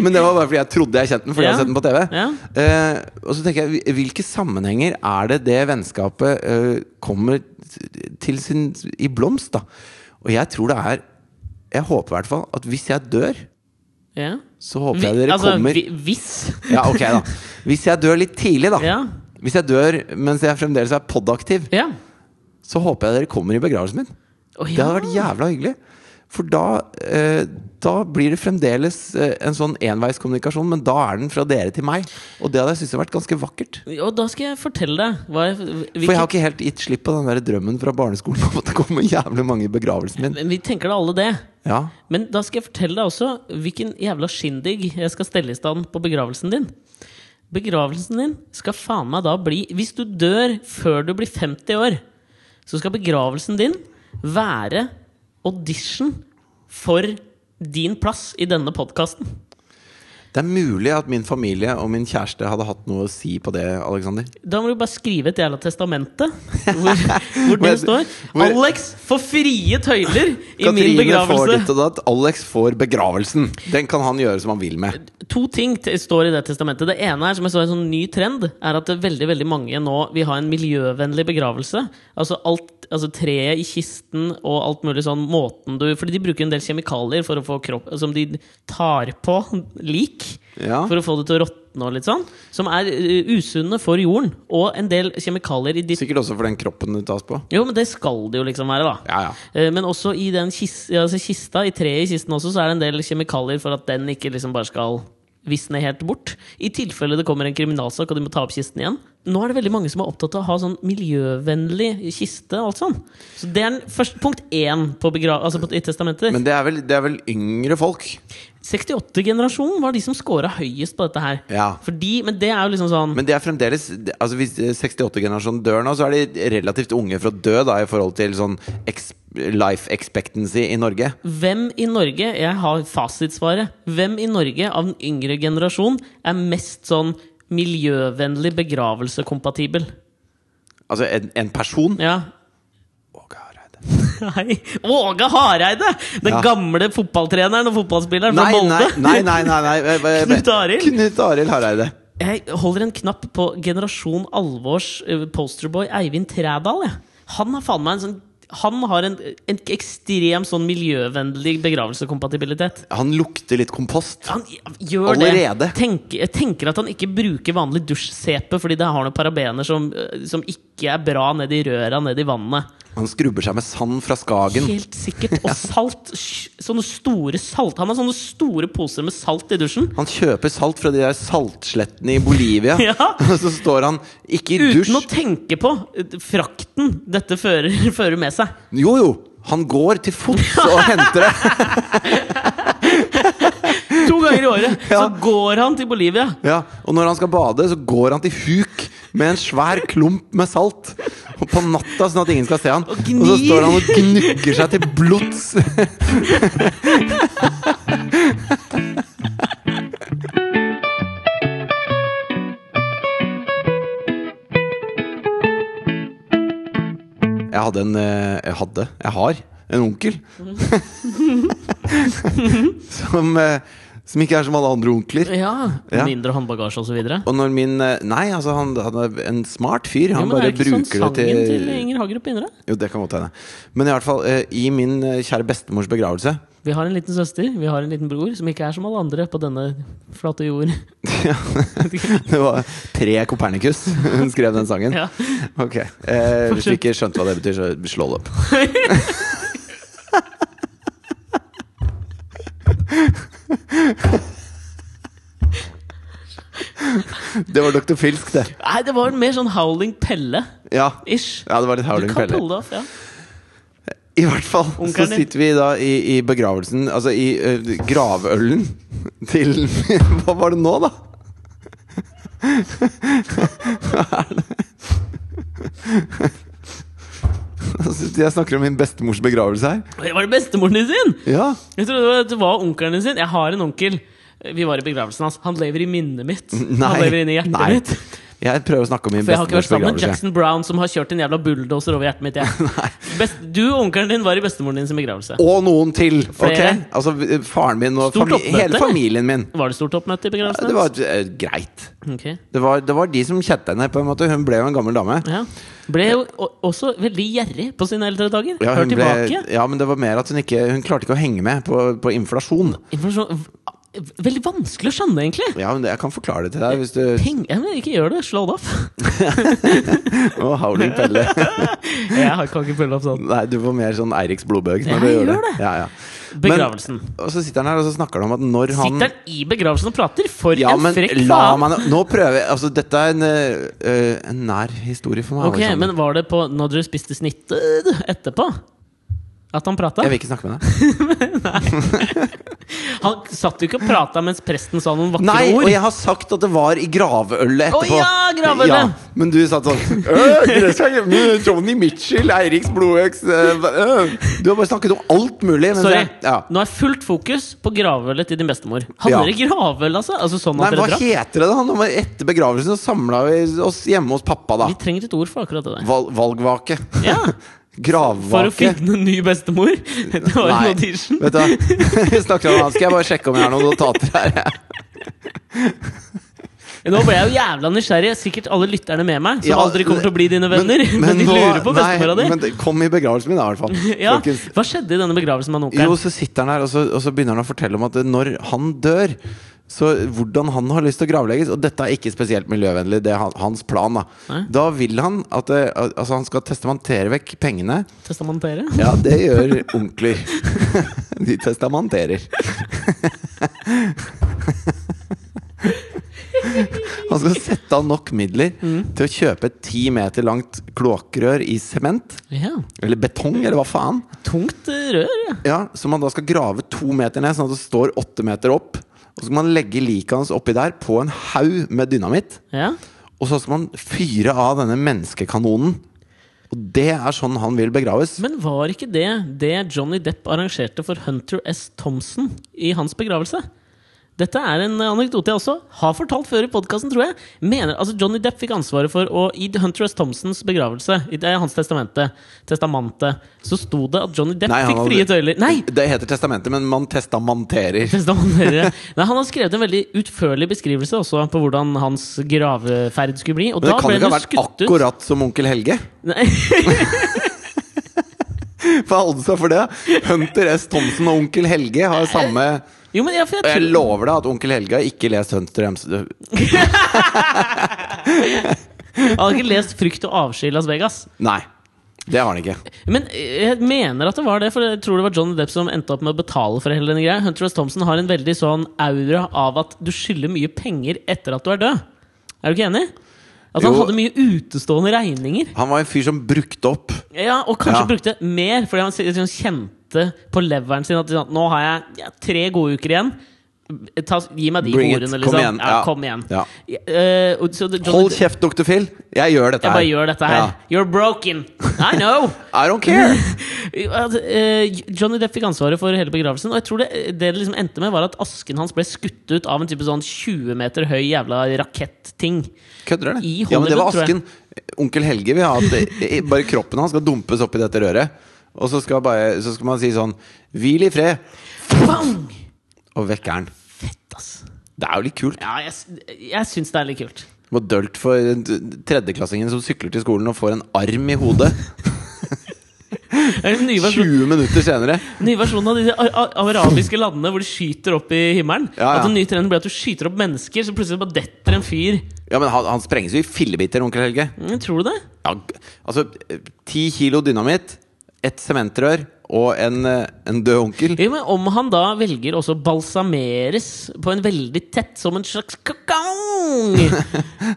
A: men det var bare fordi jeg trodde jeg kjente den fordi jeg
B: Ja.
A: har sett den på TV.
B: Ja.
A: Eh, og så tenker jeg, hvil- hvilke sammenhenger er det det vennskapet eh, kommer til sin i blomst, da? Og jeg tror det er Jeg håper i hvert fall at hvis jeg dør,
B: Ja.
A: så håper jeg dere
B: altså,
A: kommer
B: vi- Hvis
A: Ja, ok, da. Hvis jeg dør litt tidlig, da.
B: Ja.
A: Hvis jeg dør mens jeg fremdeles er podaktiv,
B: Ja.
A: så håper jeg dere kommer i begravelsen min.
B: Å,
A: Det hadde
B: ja.
A: vært jævla hyggelig. For da, eh, da blir det fremdeles eh, en sånn enveiskommunikasjon, men da er den fra dere til meg. Og det hadde jeg syntes hadde vært ganske vakkert.
B: Og da skal jeg fortelle deg hva jeg,
A: For jeg har
B: hvilke,
A: ikke helt gitt slipp på den der drømmen fra barneskolen om at det kommer jævlig mange i begravelsen min.
B: Vi tenker da alle det.
A: Ja,
B: Men da skal jeg fortelle deg også hvilken jævla skindig jeg skal stelle i stand på begravelsen din. Begravelsen din skal faen meg da bli Hvis du dør før du blir 50 år, så skal begravelsen din være audition for din plass i denne podkasten.
A: Det er mulig at min familie og min kjæreste hadde hatt noe å si på det, Aleksander.
B: Da må du bare skrive et jævla testamente hvor, hvor det
A: Hvor-
B: står
A: hvor-
B: 'Alex får frie tøyler i min
A: Katrine får
B: begravelse'.
A: ditt og datt. Alex får begravelsen. Den kan han gjøre som han vil med.
B: To ting t- står i det testamentet. Det ene er, som jeg så en sånn ny trend, er at det er veldig veldig mange nå vil ha en miljøvennlig begravelse. Altså alt, altså treet i kisten og alt mulig sånn måten du Fordi de bruker en del kjemikalier for å få kropp som de tar på lik.
A: Ja.
B: For å få det til å råtne og litt sånn. Som er eh, usunne for jorden. Og en del kjemikalier i ditt
A: Sikkert også for den kroppen det tas på.
B: Jo, men det skal det jo liksom være, da.
A: Ja, ja.
B: Eh, Men også i den kis, ja, altså kista, i treet i kisten også, så er det en del kjemikalier for at den ikke liksom bare skal visne helt bort. I tilfelle det kommer en kriminalsak og de må ta opp kisten igjen. Nå er det veldig mange som er opptatt av å ha sånn miljøvennlig kiste og alt sånn. Så det er den første, punkt én på begra altså på, i testamentet.
A: Men det er vel, det er vel yngre folk.
B: 68-generasjonen var de som scora høyest på dette her.
A: Ja.
B: Fordi, men det er jo liksom sånn
A: Men det er fremdeles det- altså Hvis 68-generasjonen dør nå, så er de relativt unge for å dø da, i forhold til sånn ex life expectancy i Norge.
B: Hvem i Norge Jeg har fasitsvaret. Hvem i Norge av den yngre generasjon er mest sånn miljøvennlig begravelsekompatibel?
A: Altså en, en person.
B: Ja.
A: Åge Hareide.
B: Nei. Åge Hareide! Den
A: Ja.
B: gamle fotballtreneren og fotballspilleren
A: Nei, nei,
B: fra Molde.
A: nei, nei, nei, nei. eh, eh,
B: Knut Arild?
A: Knut Arild Hareide.
B: Jeg holder en knapp på Generasjon Alvors eh, posterboy Eivind Trædal. jeg. Han har faen meg en sånn han har en, en ekstrem sånn miljøvennlig begravelsekompatibilitet.
A: Han lukter litt kompost.
B: Han gjør det.
A: Allerede.
B: Tenk, jeg tenker at han ikke bruker vanlig dusjsepe fordi det har noen parabener som, eh, som ikke er bra nedi røra, nedi vannet.
A: Han skrubber seg med sand fra Skagen.
B: Helt sikkert. Og salt. sj- Sånne store salt. Han har sånne store poser med salt i dusjen.
A: Han kjøper salt fra de der saltslettene i Bolivia.
B: Ja.
A: Og så står han ikke i
B: Uten å
A: dusj.
B: tenke på eh, frakten dette fører, fører med seg.
A: Jo, jo! Han går til fots og henter det.
B: To ganger i året
A: Ja.
B: så går han til Bolivia.
A: Ja, Og når han skal bade, så går han til huk med en svær klump med salt. Og på natta, sånn at ingen skal se han. Og, så
B: gnir.
A: står han og gnugger seg til blods. Jeg hadde en eh, Jeg hadde Jeg har en onkel. som, eh, som ikke er som alle andre onkler.
B: Ja,
A: Ja.
B: Mindre håndbagasje osv.
A: Og når min eh, Nei, altså han, han er en smart fyr.
B: Ja,
A: Han
B: men er
A: bare
B: det ikke sånn
A: bruker
B: sangen
A: det
B: til,
A: til,
B: Inger Hagerup begynner? da?
A: Jo, det kan godt hende. Men i hvert fall, eh, i min eh, kjære bestemors begravelse
B: Vi har en liten søster, vi har en liten bror, som ikke er som alle andre på denne flate jord.
A: ja, Det var tre Kopernikus hun skrev den sangen.
B: Ja.
A: Ok. Eh, hvis du ikke skjønte hva det betyr, så slå det opp. Det var Dr. Filsk, det.
B: Nei, det var mer sånn Howling Pelle-ish.
A: Ja. ja, det var litt
B: du
A: Howling
B: kan
A: Pelle.
B: pulle det off, ja.
A: I hvert fall så
B: Onkelen din.
A: sitter vi da i, i begravelsen Altså i ø, gravølen til Hva var det nå, da? Hva er det? Altså, Jeg snakker om min bestemors begravelse her.
B: Det var det bestemoren din sin!
A: Ja,
B: Jeg trodde det var- det var onkelen din sin. Jeg har en onkel. Vi var i begravelsen hans. Han lever i minnet mitt.
A: Nei.
B: Han lever inne i hjertet
A: Nei.
B: mitt.
A: Jeg prøver å snakke om min
B: For jeg har ikke vært
A: bestemors
B: sammen med
A: begravelse.
B: Jackson Brown, som har kjørt en jævla bulldoser over hjertet mitt. Jeg. Best, du og onkelen din var i bestemoren din sin begravelse.
A: Og noen til! ok?
B: Flere?
A: Altså v- faren min og
B: Stort
A: famili
B: oppmøte,
A: hele
B: eller?
A: familien min.
B: Var det stort oppmøte i
A: Ja,
B: begravelsen?
A: Det var eh, greit.
B: hennes? Ok.
A: Det var, det var de som kjente henne, på en måte. Hun ble jo en gammel dame.
B: Ja. Ble jo o- også veldig gjerrig på sine eldre dager.
A: Ja,
B: Hør
A: hun ble,
B: tilbake.
A: ja, men det var mer at hun ikke Hun klarte ikke å henge med på, på inflasjon.
B: Informasjon v- Veldig vanskelig å skjønne, egentlig.
A: Ja, men det, Jeg kan forklare det til deg. Hvis du,
B: Peng, ja, men ikke gjør det. Slå det opp.
A: Å, Howling Pelle.
B: Jeg har- kan ikke følge opp sånn.
A: Nei, du får mer sånn Eiriks blodbøg når
B: Jeg
A: du gjør det.
B: gjør det.
A: Ja, ja. Men-
B: Begravelsen.
A: og så sitter han her og så snakker han om at når han
B: Sitter han i begravelsen og prater? For
A: ja,
B: en
A: men
B: frekk
A: la
B: faen!
A: meg nå- Nå prøver jeg Altså, dette er en, eh, en nær historie for meg.
B: Ok,
A: Alexander.
B: Men var det på når dere spiste snittet etterpå? At han prata?
A: Jeg vil ikke snakke med deg.
B: Han satt jo ikke og prata mens presten sa noen vakre
A: Nei, og
B: ord.
A: jeg har sagt at det var i gravølet etterpå.
B: Å ja, gravølet!
A: men du satt sånn «Øh, det skal jeg- men Johnny Mitchell, Eiriks blodøks øh, øh». Du har bare snakket om alt mulig. mens
B: Sorry.
A: jeg- Ja.
B: Nå er fullt fokus på gravølet til din bestemor. Hadde
A: Ja.
B: dere gravøl, altså? altså sånn
A: Nei,
B: at
A: hva
B: dere drakk?
A: heter det da? Nå var- Etter begravelsen så samla vi oss hjemme hos pappa, da.
B: Vi trenger et ord for akkurat det der.
A: Val valgvake.
B: Ja, For å
A: Gravvake.
B: finne en ny bestemor? Det var en audition.
A: vet du hva. Vi snakker om han. Skal jeg bare sjekke om jeg har noen notater her?
B: Nå ble jeg jo jævla nysgjerrig. Sikkert alle lytterne med meg, som
A: Ja,
B: aldri kommer til å bli dine venner. Men, de
A: nå-
B: lurer på bestemora
A: nei,
B: di.
A: Men det kom i begravelsen min, da, i hvert fall.
B: Ja.
A: Folkens.
B: Hva skjedde i denne begravelsen med han
A: Jo,
B: onkelen?
A: så sitter han her, og så, og så begynner han å fortelle om at når han dør så hvordan han har lyst til å gravlegges, og dette er ikke spesielt miljøvennlig, det er han- hans plan. Da
B: Nei.
A: Da vil han at eh, al- altså han skal testamentere vekk pengene.
B: Testamentere?
A: Ja, det gjør onkler. De testamenterer. Han skal sette av nok midler til å kjøpe et ti meter langt kloakkrør i sement.
B: Ja.
A: Eller betong, eller hva faen.
B: Tungt eh, rør, ja.
A: Ja, Som man da skal grave to meter ned, sånn at det står åtte meter opp. Og så skal man legge liket hans oppi der på en haug med dynamitt.
B: ja.
A: Og så skal man fyre av denne menneskekanonen. Og det er sånn han vil begraves.
B: Men var ikke det det Johnny Depp arrangerte for Hunter S. Thompson i hans begravelse? Dette er en eh, anekdote jeg også har fortalt før i podkasten, tror jeg. Mener, altså Johnny Depp fikk ansvaret for å I Hunter S. Thompsons begravelse, i det, hans testamente, testamente, så sto det at Johnny Depp
A: Nei, han
B: fikk
A: hadde-
B: frie tøyler Nei!
A: Det heter testamentet, men man testamenterer.
B: Testamentere. Nei, han har skrevet en veldig utførlig beskrivelse også på hvordan hans graveferd skulle bli. Og
A: Men det
B: da
A: kan jo
B: ble
A: ikke ha
B: han jo
A: vært
B: skutt ut.
A: akkurat som onkel Helge.
B: Nei,
A: Hva er oddsa for det? Hunter S. Thomsen og onkel Helge har samme
B: jo, men ja, for jeg
A: Og jeg
B: tror
A: lover deg at onkel Helge har ikke lest Hunter S.
B: Han hadde ikke lest 'Frykt og avsky' i Las Vegas.
A: Nei. Det har han ikke.
B: Men eh, jeg mener at det var det, for jeg tror det var Johnny Depp som endte opp med å betale for hele denne greia. Hunter S. Thompson har en veldig sånn aura av at du skylder mye penger etter at du er død. Er du ikke enig? At han
A: Jo.
B: hadde mye utestående regninger.
A: Han var en fyr som brukte opp.
B: Ja, Og kanskje
A: Ja.
B: brukte mer, fordi han sikkert sånn kjente på leveren sin at sånn, nå har jeg ja, tre gode uker igjen. Ta, gi meg de
A: Bring it.
B: ordene,
A: Kom
B: liksom.
A: igjen.
B: Ja,
A: Ja.
B: kom igjen.
A: Ja.
B: Eh, og så det- Johnny
A: Hold
B: Depp-
A: kjeft, dr. Phil. Jeg gjør dette
B: Jeg
A: her.
B: bare gjør dette her. You're broken. I know.
A: Ja. I don't care.
B: At, eh, Johnny Depp fikk ansvaret for hele begravelsen. Og jeg tror det, det det liksom endte med, var at asken hans ble skutt ut av en type sånn 20 meter høy jævla raketting.
A: Kødder dere?
B: I
A: Ja, men det var
B: Hollywood, tror jeg.
A: asken. Onkel Helge vil ha at eh, bare kroppen hans skal dumpes oppi dette røret. Og så skal, bare, så skal man si sånn Hvil i fred,
B: Bang!
A: og vekker han.
B: Fett, ass.
A: Det er jo litt kult.
B: Ja, jeg, s- jeg syns det er litt kult.
A: Det var dølt for en t- tredjeklassingen som sykler til skolen og får en arm i hodet
B: En ny versjon,
A: 20 minutter senere.
B: ny versjon av de ar ar arabiske landene hvor de skyter opp i himmelen.
A: Ja, ja.
B: At en ny trend blir at du skyter opp mennesker, så plutselig bare detter en fyr.
A: Ja, men han, han sprenges jo i fillebiter, onkel Helge.
B: Mm, Tror du det?
A: Ja, g- altså, eh, ti kilo dynamitt, ett sementrør og en, eh, en død onkel.
B: Jo, men om han da velger også å balsameres på en veldig tett som en slags kakong!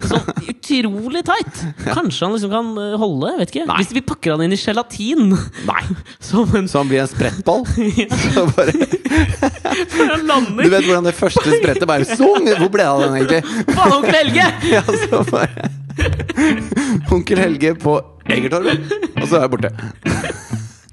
B: Sånn utrolig tight! Kanskje han liksom kan eh, holde? jeg vet ikke
A: Nei.
B: Hvis vi pakker han inn i gelatin
A: Nei.
B: som en
A: Så han blir en sprettball. Så bare,
B: før han
A: du
B: lander!
A: vet hvordan det første sprettet bare Sung! Hvor ble av den, egentlig?
B: Faen, onkel Helge!
A: Ja, så bare Onkel Helge på Egertorget, og så er jeg borte.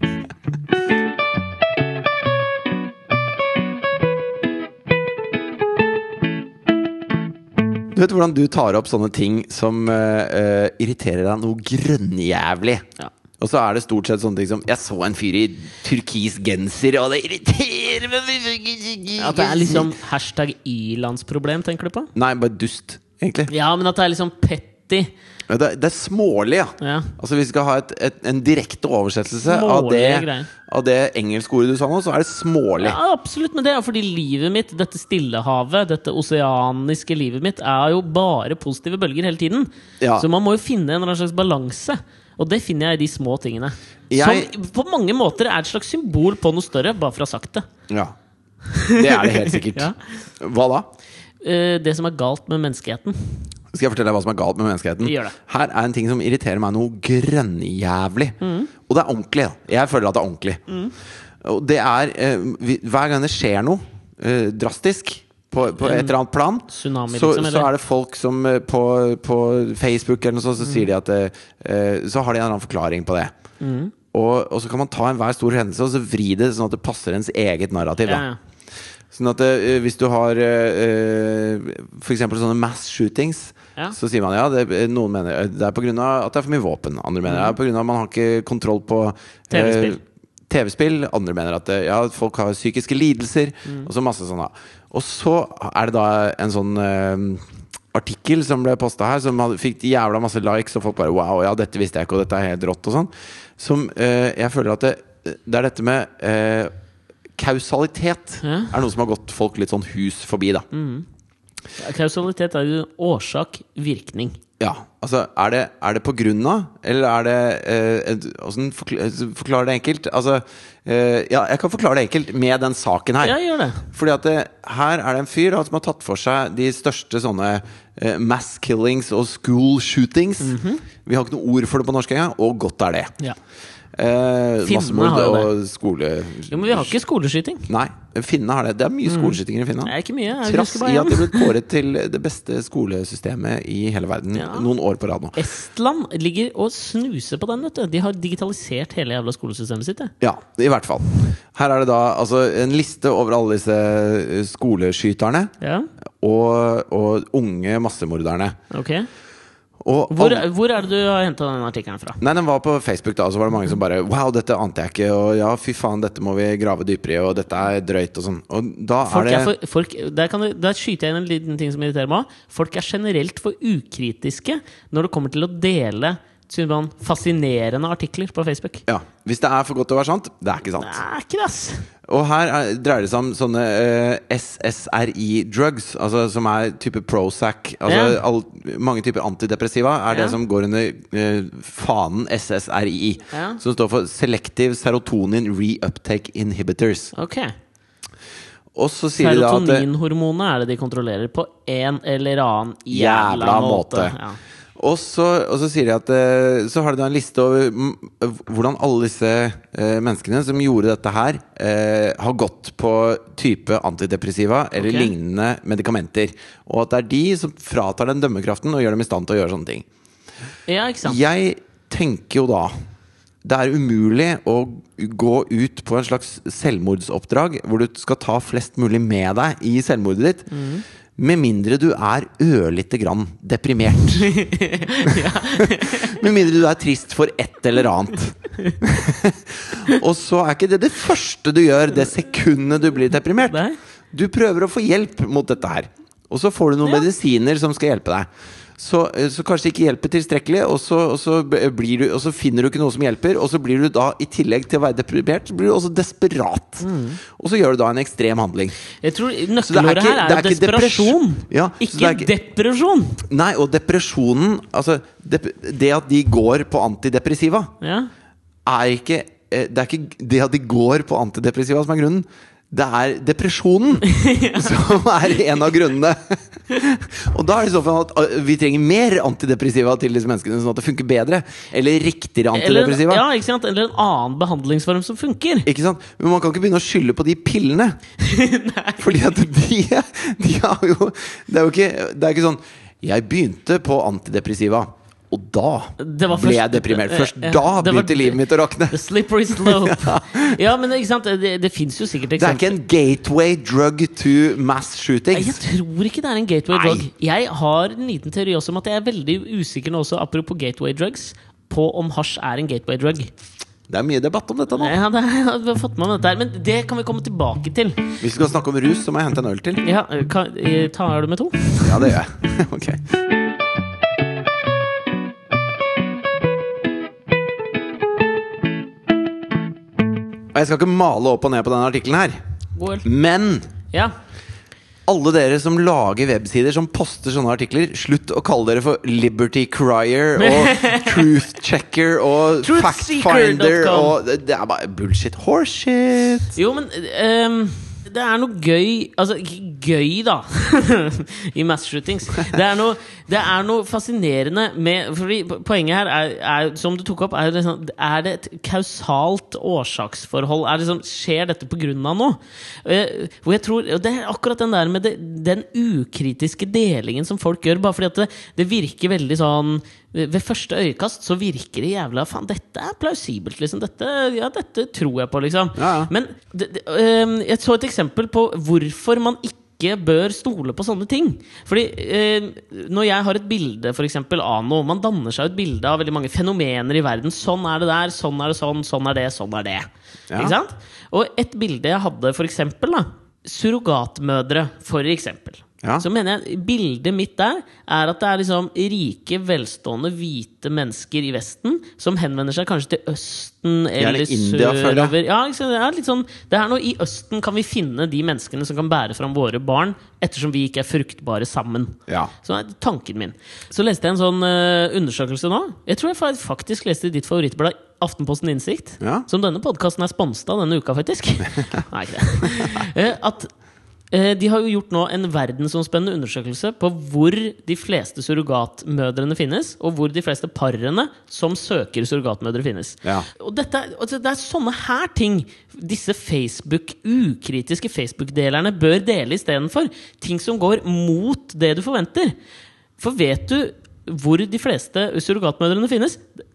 A: Du vet hvordan du tar opp sånne ting som eh, eh, irriterer deg noe grønnjævlig.
B: Ja.
A: Og så er det stort sett sånne ting som 'Jeg så en fyr i turkis genser, og det irriterer meg'
B: At det er liksom hashtag ilandsproblem, tenker du på?
A: Nei, bare dust, egentlig.
B: Ja, men at det er liksom petty.
A: Det, er- det er smålig, ja.
B: Ja.
A: Altså Vi skal ha et, et, en direkte oversettelse av
B: Smålige
A: det,
B: greier.
A: av det engelske ordet du sa nå, så er det smålig.
B: Ja, absolutt, men det er jo fordi livet mitt, dette stillehavet, dette oseaniske livet mitt, er jo bare positive bølger hele tiden.
A: Ja.
B: Så man må jo finne en eller annen slags balanse. Og det finner jeg i de små tingene.
A: Jeg-
B: Som på mange måter er et slags symbol på noe større, bare for å ha sagt det.
A: Ja. Det er det helt sikkert.
B: Ja.
A: Hva da?
B: Eh, Det som er galt med menneskeheten.
A: Skal jeg fortelle deg hva som er galt med menneskeheten?
B: Gjør det.
A: Her er en ting som irriterer meg noe grønnjævlig.
B: Mm.
A: Og det er ordentlig. da. Jeg føler at det er ordentlig. Og det er eh, vi, Hver gang det skjer noe eh, drastisk på,
B: Mm.
A: på et eller annet plan,
B: tsunami,
A: så,
B: liksom,
A: så
B: eller?
A: er det folk som eh, på, på Facebook eller noe sånt, så
B: Mm.
A: sier de at eh, eh, Så har de en eller annen forklaring på det. Og, og så kan man ta enhver stor hendelse og så vri det sånn at det passer ens eget narrativ. Da.
B: Ja, ja.
A: Sånn at eh, hvis du har eh, eh, For eksempel sånne mass shootings
B: Ja.
A: Så sier man ja, det, noen mener eh, det er på grunn av at det er for mye våpen Andre
B: Mm.
A: mener det er på grunn av at man har ikke kontroll på eh,
B: TV-spill.
A: TV-spill Andre mener at eh, ja, folk har psykiske lidelser Og så masse sånn da Og så er det da en sånn eh, artikkel som ble postet her Som hadde, fikk jævla masse likes Og folk bare wow, ja dette visste jeg ikke Og dette er helt rått og sånn Som eh, jeg føler at det, det er dette med eh, Kausalitet
B: Ja.
A: er noe som har gått folk litt sånn hus forbi, da.
B: Kausalitet er jo årsak-virkning.
A: Ja, altså er det, er det på grunn av, eller er det eh, et- Åssen forkl- eh, forklare det enkelt? Altså eh, Ja, jeg kan forklare det enkelt med den saken her.
B: Ja, gjør det.
A: Fordi at det, her er det en fyr da, som har tatt for seg de største sånne eh, mass killings og school shootings.
B: Mhm.
A: Vi har ikke noe ord for det på norsk engang, og godt er det.
B: Ja.
A: Eh,
B: Finnene
A: Massemord
B: har jo det.
A: og skole...
B: Jo, men vi har ikke skoleskyting.
A: Nei, finnene har det. Det er mye skoleskytinger i Finland.
B: Det er ikke mye. Jeg
A: Trass
B: husker
A: i
B: bare
A: at det
B: én.
A: ble kåret til det beste skolesystemet i hele verden
B: Ja.
A: noen år på rad nå.
B: Estland ligger og snuser på den, vet du. De har digitalisert hele jævla skolesystemet sitt. det.
A: Ja, i hvert fall. Her er det da altså, en liste over alle disse eh, skoleskyterne
B: Ja,
A: og, og unge massemorderne.
B: ok
A: Og
B: Hvor,
A: alle-
B: hvor er det du har henta den artikkelen fra?
A: Nei, den var på Facebook, da, og så var det mange som bare Wow, dette ante jeg ikke, og ja, fy faen, dette må vi grave dypere i, og dette er drøyt, og sånn. Og da
B: Folk er
A: er det
B: for, folk, der, kan, du- der skyter jeg inn en liten ting som irriterer meg. også. Folk er generelt for ukritiske når det kommer til å dele synes man, fascinerende artikler på Facebook.
A: ja, Hvis det er for godt til å være sant, det er ikke sant.
B: Det er ikke det, ass!
A: Og her er, dreier det seg om sånne eh, SSRI-drugs, altså som er type Prozac. Altså
B: Ja.
A: all, mange typer antidepressiva er
B: Ja.
A: det som går under eh, fanen SSRI.
B: Ja.
A: Som står for Selective Serotonin Reuptake Inhibitors.
B: Ok.
A: Og så sier de da at eh, det-
B: Serotoninhormonet er det de kontrollerer på en eller annen jævla,
A: Jævla
B: måte.
A: måte. Og så, og så sier de at eh, Så har de da en liste over mm, hvordan alle disse eh, menneskene som gjorde dette her, eh, har gått på type antidepressiva eller
B: Ok.
A: lignende medikamenter. Og at det er de som fratar den dømmekraften og gjør dem i stand til å gjøre sånne ting.
B: Ja. ja, ikke sant?
A: Jeg tenker jo da det er umulig å gå ut på en slags selvmordsoppdrag hvor du skal ta flest mulig med deg i selvmordet ditt. Med mindre du er ørlite grann deprimert. med mindre du er trist for et eller annet. Og så er ikke det det første du gjør det sekundet du blir deprimert.
B: Nei.
A: Du prøver å få hjelp mot dette her. Og så får du noen
B: Ja.
A: medisiner som skal hjelpe deg. Så, eh, så kanskje ikke hjelper tilstrekkelig, og så, og, så b- eh, blir du, og så finner du ikke noe som hjelper. Og så blir du da, i tillegg til å være deprimert, så blir du også desperat.
B: Mm.
A: Og så gjør du da en ekstrem handling.
B: Jeg tror
A: det er
B: Nøkkelordet
A: ikke-
B: her er,
A: det er
B: jo
A: ikke
B: desperasjon.
A: depresjon. Ja, så
B: ikke,
A: det er
B: depresjon!
A: Nei, og depresjonen Altså, dep det at de går på antidepressiva,
B: Ja.
A: er ikke eh, Det er ikke det at de går på antidepressiva som er grunnen. Det er depresjonen som er en av grunnene. Og da er det i så fall at eh, vi trenger mer antidepressiva til disse menneskene, sånn at det funker bedre. Eller riktigere
B: Eller, en-
A: antidepressiva.
B: ja, ikke sant? Eller en annen behandlingsform som funker.
A: Ikke sant? Men man kan ikke begynne å skylde på de pillene. Fordi at de, de har jo Det er jo ikke, det er ikke sånn Jeg begynte på antidepressiva. Og da
B: Det var
A: ble
B: først-
A: jeg deprimert. Først
B: Ja,
A: da
B: det var-
A: begynte livet mitt å rakne.
B: The slippery slope. ja, men ikke sant? Det, det fins jo sikkert
A: Det er ikke
B: eksempler.
A: en gateway drug to mass
B: Jeg
A: shootings.
B: tror ikke det er en gateway
A: Nei.
B: drug. Jeg har en liten teori også om at jeg er veldig usikker nå også, apropos gateway drugs, på om hasj er en gateway drug.
A: Det er mye debatt om dette nå.
B: Ja, det, jeg har fått med meg dette her, men det kan vi komme tilbake til.
A: Hvis vi skal snakke om rus, så må jeg hente en øl til.
B: Ja, kan, eh, tar du med to?
A: Ja, det gjør jeg. Ok. Og jeg skal ikke male opp og ned på denne artikkelen her,
B: God øl.
A: men
B: Ja.
A: alle dere som lager websider som poster sånne artikler, slutt å kalle dere for Liberty Crier og Truth Checker og
B: Truthseeker.com.
A: Factfinder og Det er bare bullshit. Horseshit.
B: Jo, men ehm, det er noe gøy Altså, ikke gøy, da, i mass shootings. Det er noe, det er noe fascinerende med Fordi poenget her er, er som du tok opp, er, jo liksom, er det et kausalt årsaksforhold? Er det liksom, skjer dette på grunn av noe? Eh, Hvor jeg tror, og det er akkurat den der med det, den ukritiske delingen som folk gjør, bare fordi at det, det virker veldig sånn ved første øyekast så virker det jævla Faen, dette er plausibelt, liksom. Dette, ja, dette tror jeg på, liksom.
A: Ja, ja.
B: Men det, det, øhm, jeg så et eksempel på hvorfor man ikke bør stole på sånne ting. Fordi øhm, når jeg har et bilde for eksempel, av noe Man danner seg et bilde av veldig mange fenomener i verden. Sånn er det der, sånn er det sånn, sånn er det, sånn er det.
A: Ja.
B: Ikke sant? Og et bilde jeg hadde, for eksempel, da, surrogatmødre, for eksempel.
A: Ja.
B: Så mener jeg Bildet mitt der er at det er liksom rike, velstående, hvite mennesker i Vesten som henvender seg kanskje til Østen eller
A: India, føler jeg.
B: sørover. Ja, ikke sant? det er litt sånn Det er noe i Østen kan vi finne de menneskene som kan bære fram våre barn, ettersom vi ikke er fruktbare sammen.
A: Ja.
B: Så er tanken min. Så leste jeg en sånn eh, undersøkelse nå. Jeg tror jeg fa- faktisk leste i ditt favorittblad Aftenposten Innsikt,
A: Ja.
B: som denne podkasten er sponset av denne uka, faktisk. Nei, ikke det. Eh, At eh, de har jo gjort nå en verdensomspennende undersøkelse på hvor de fleste surrogatmødrene finnes, og hvor de fleste parene som søker surrogatmødre, finnes.
A: Ja.
B: Og dette, er- altså, det er sånne her ting disse Facebook, ukritiske Facebook-delerne bør dele istedenfor. Ting som går mot det du forventer. For vet du hvor de fleste surrogatmødrene finnes?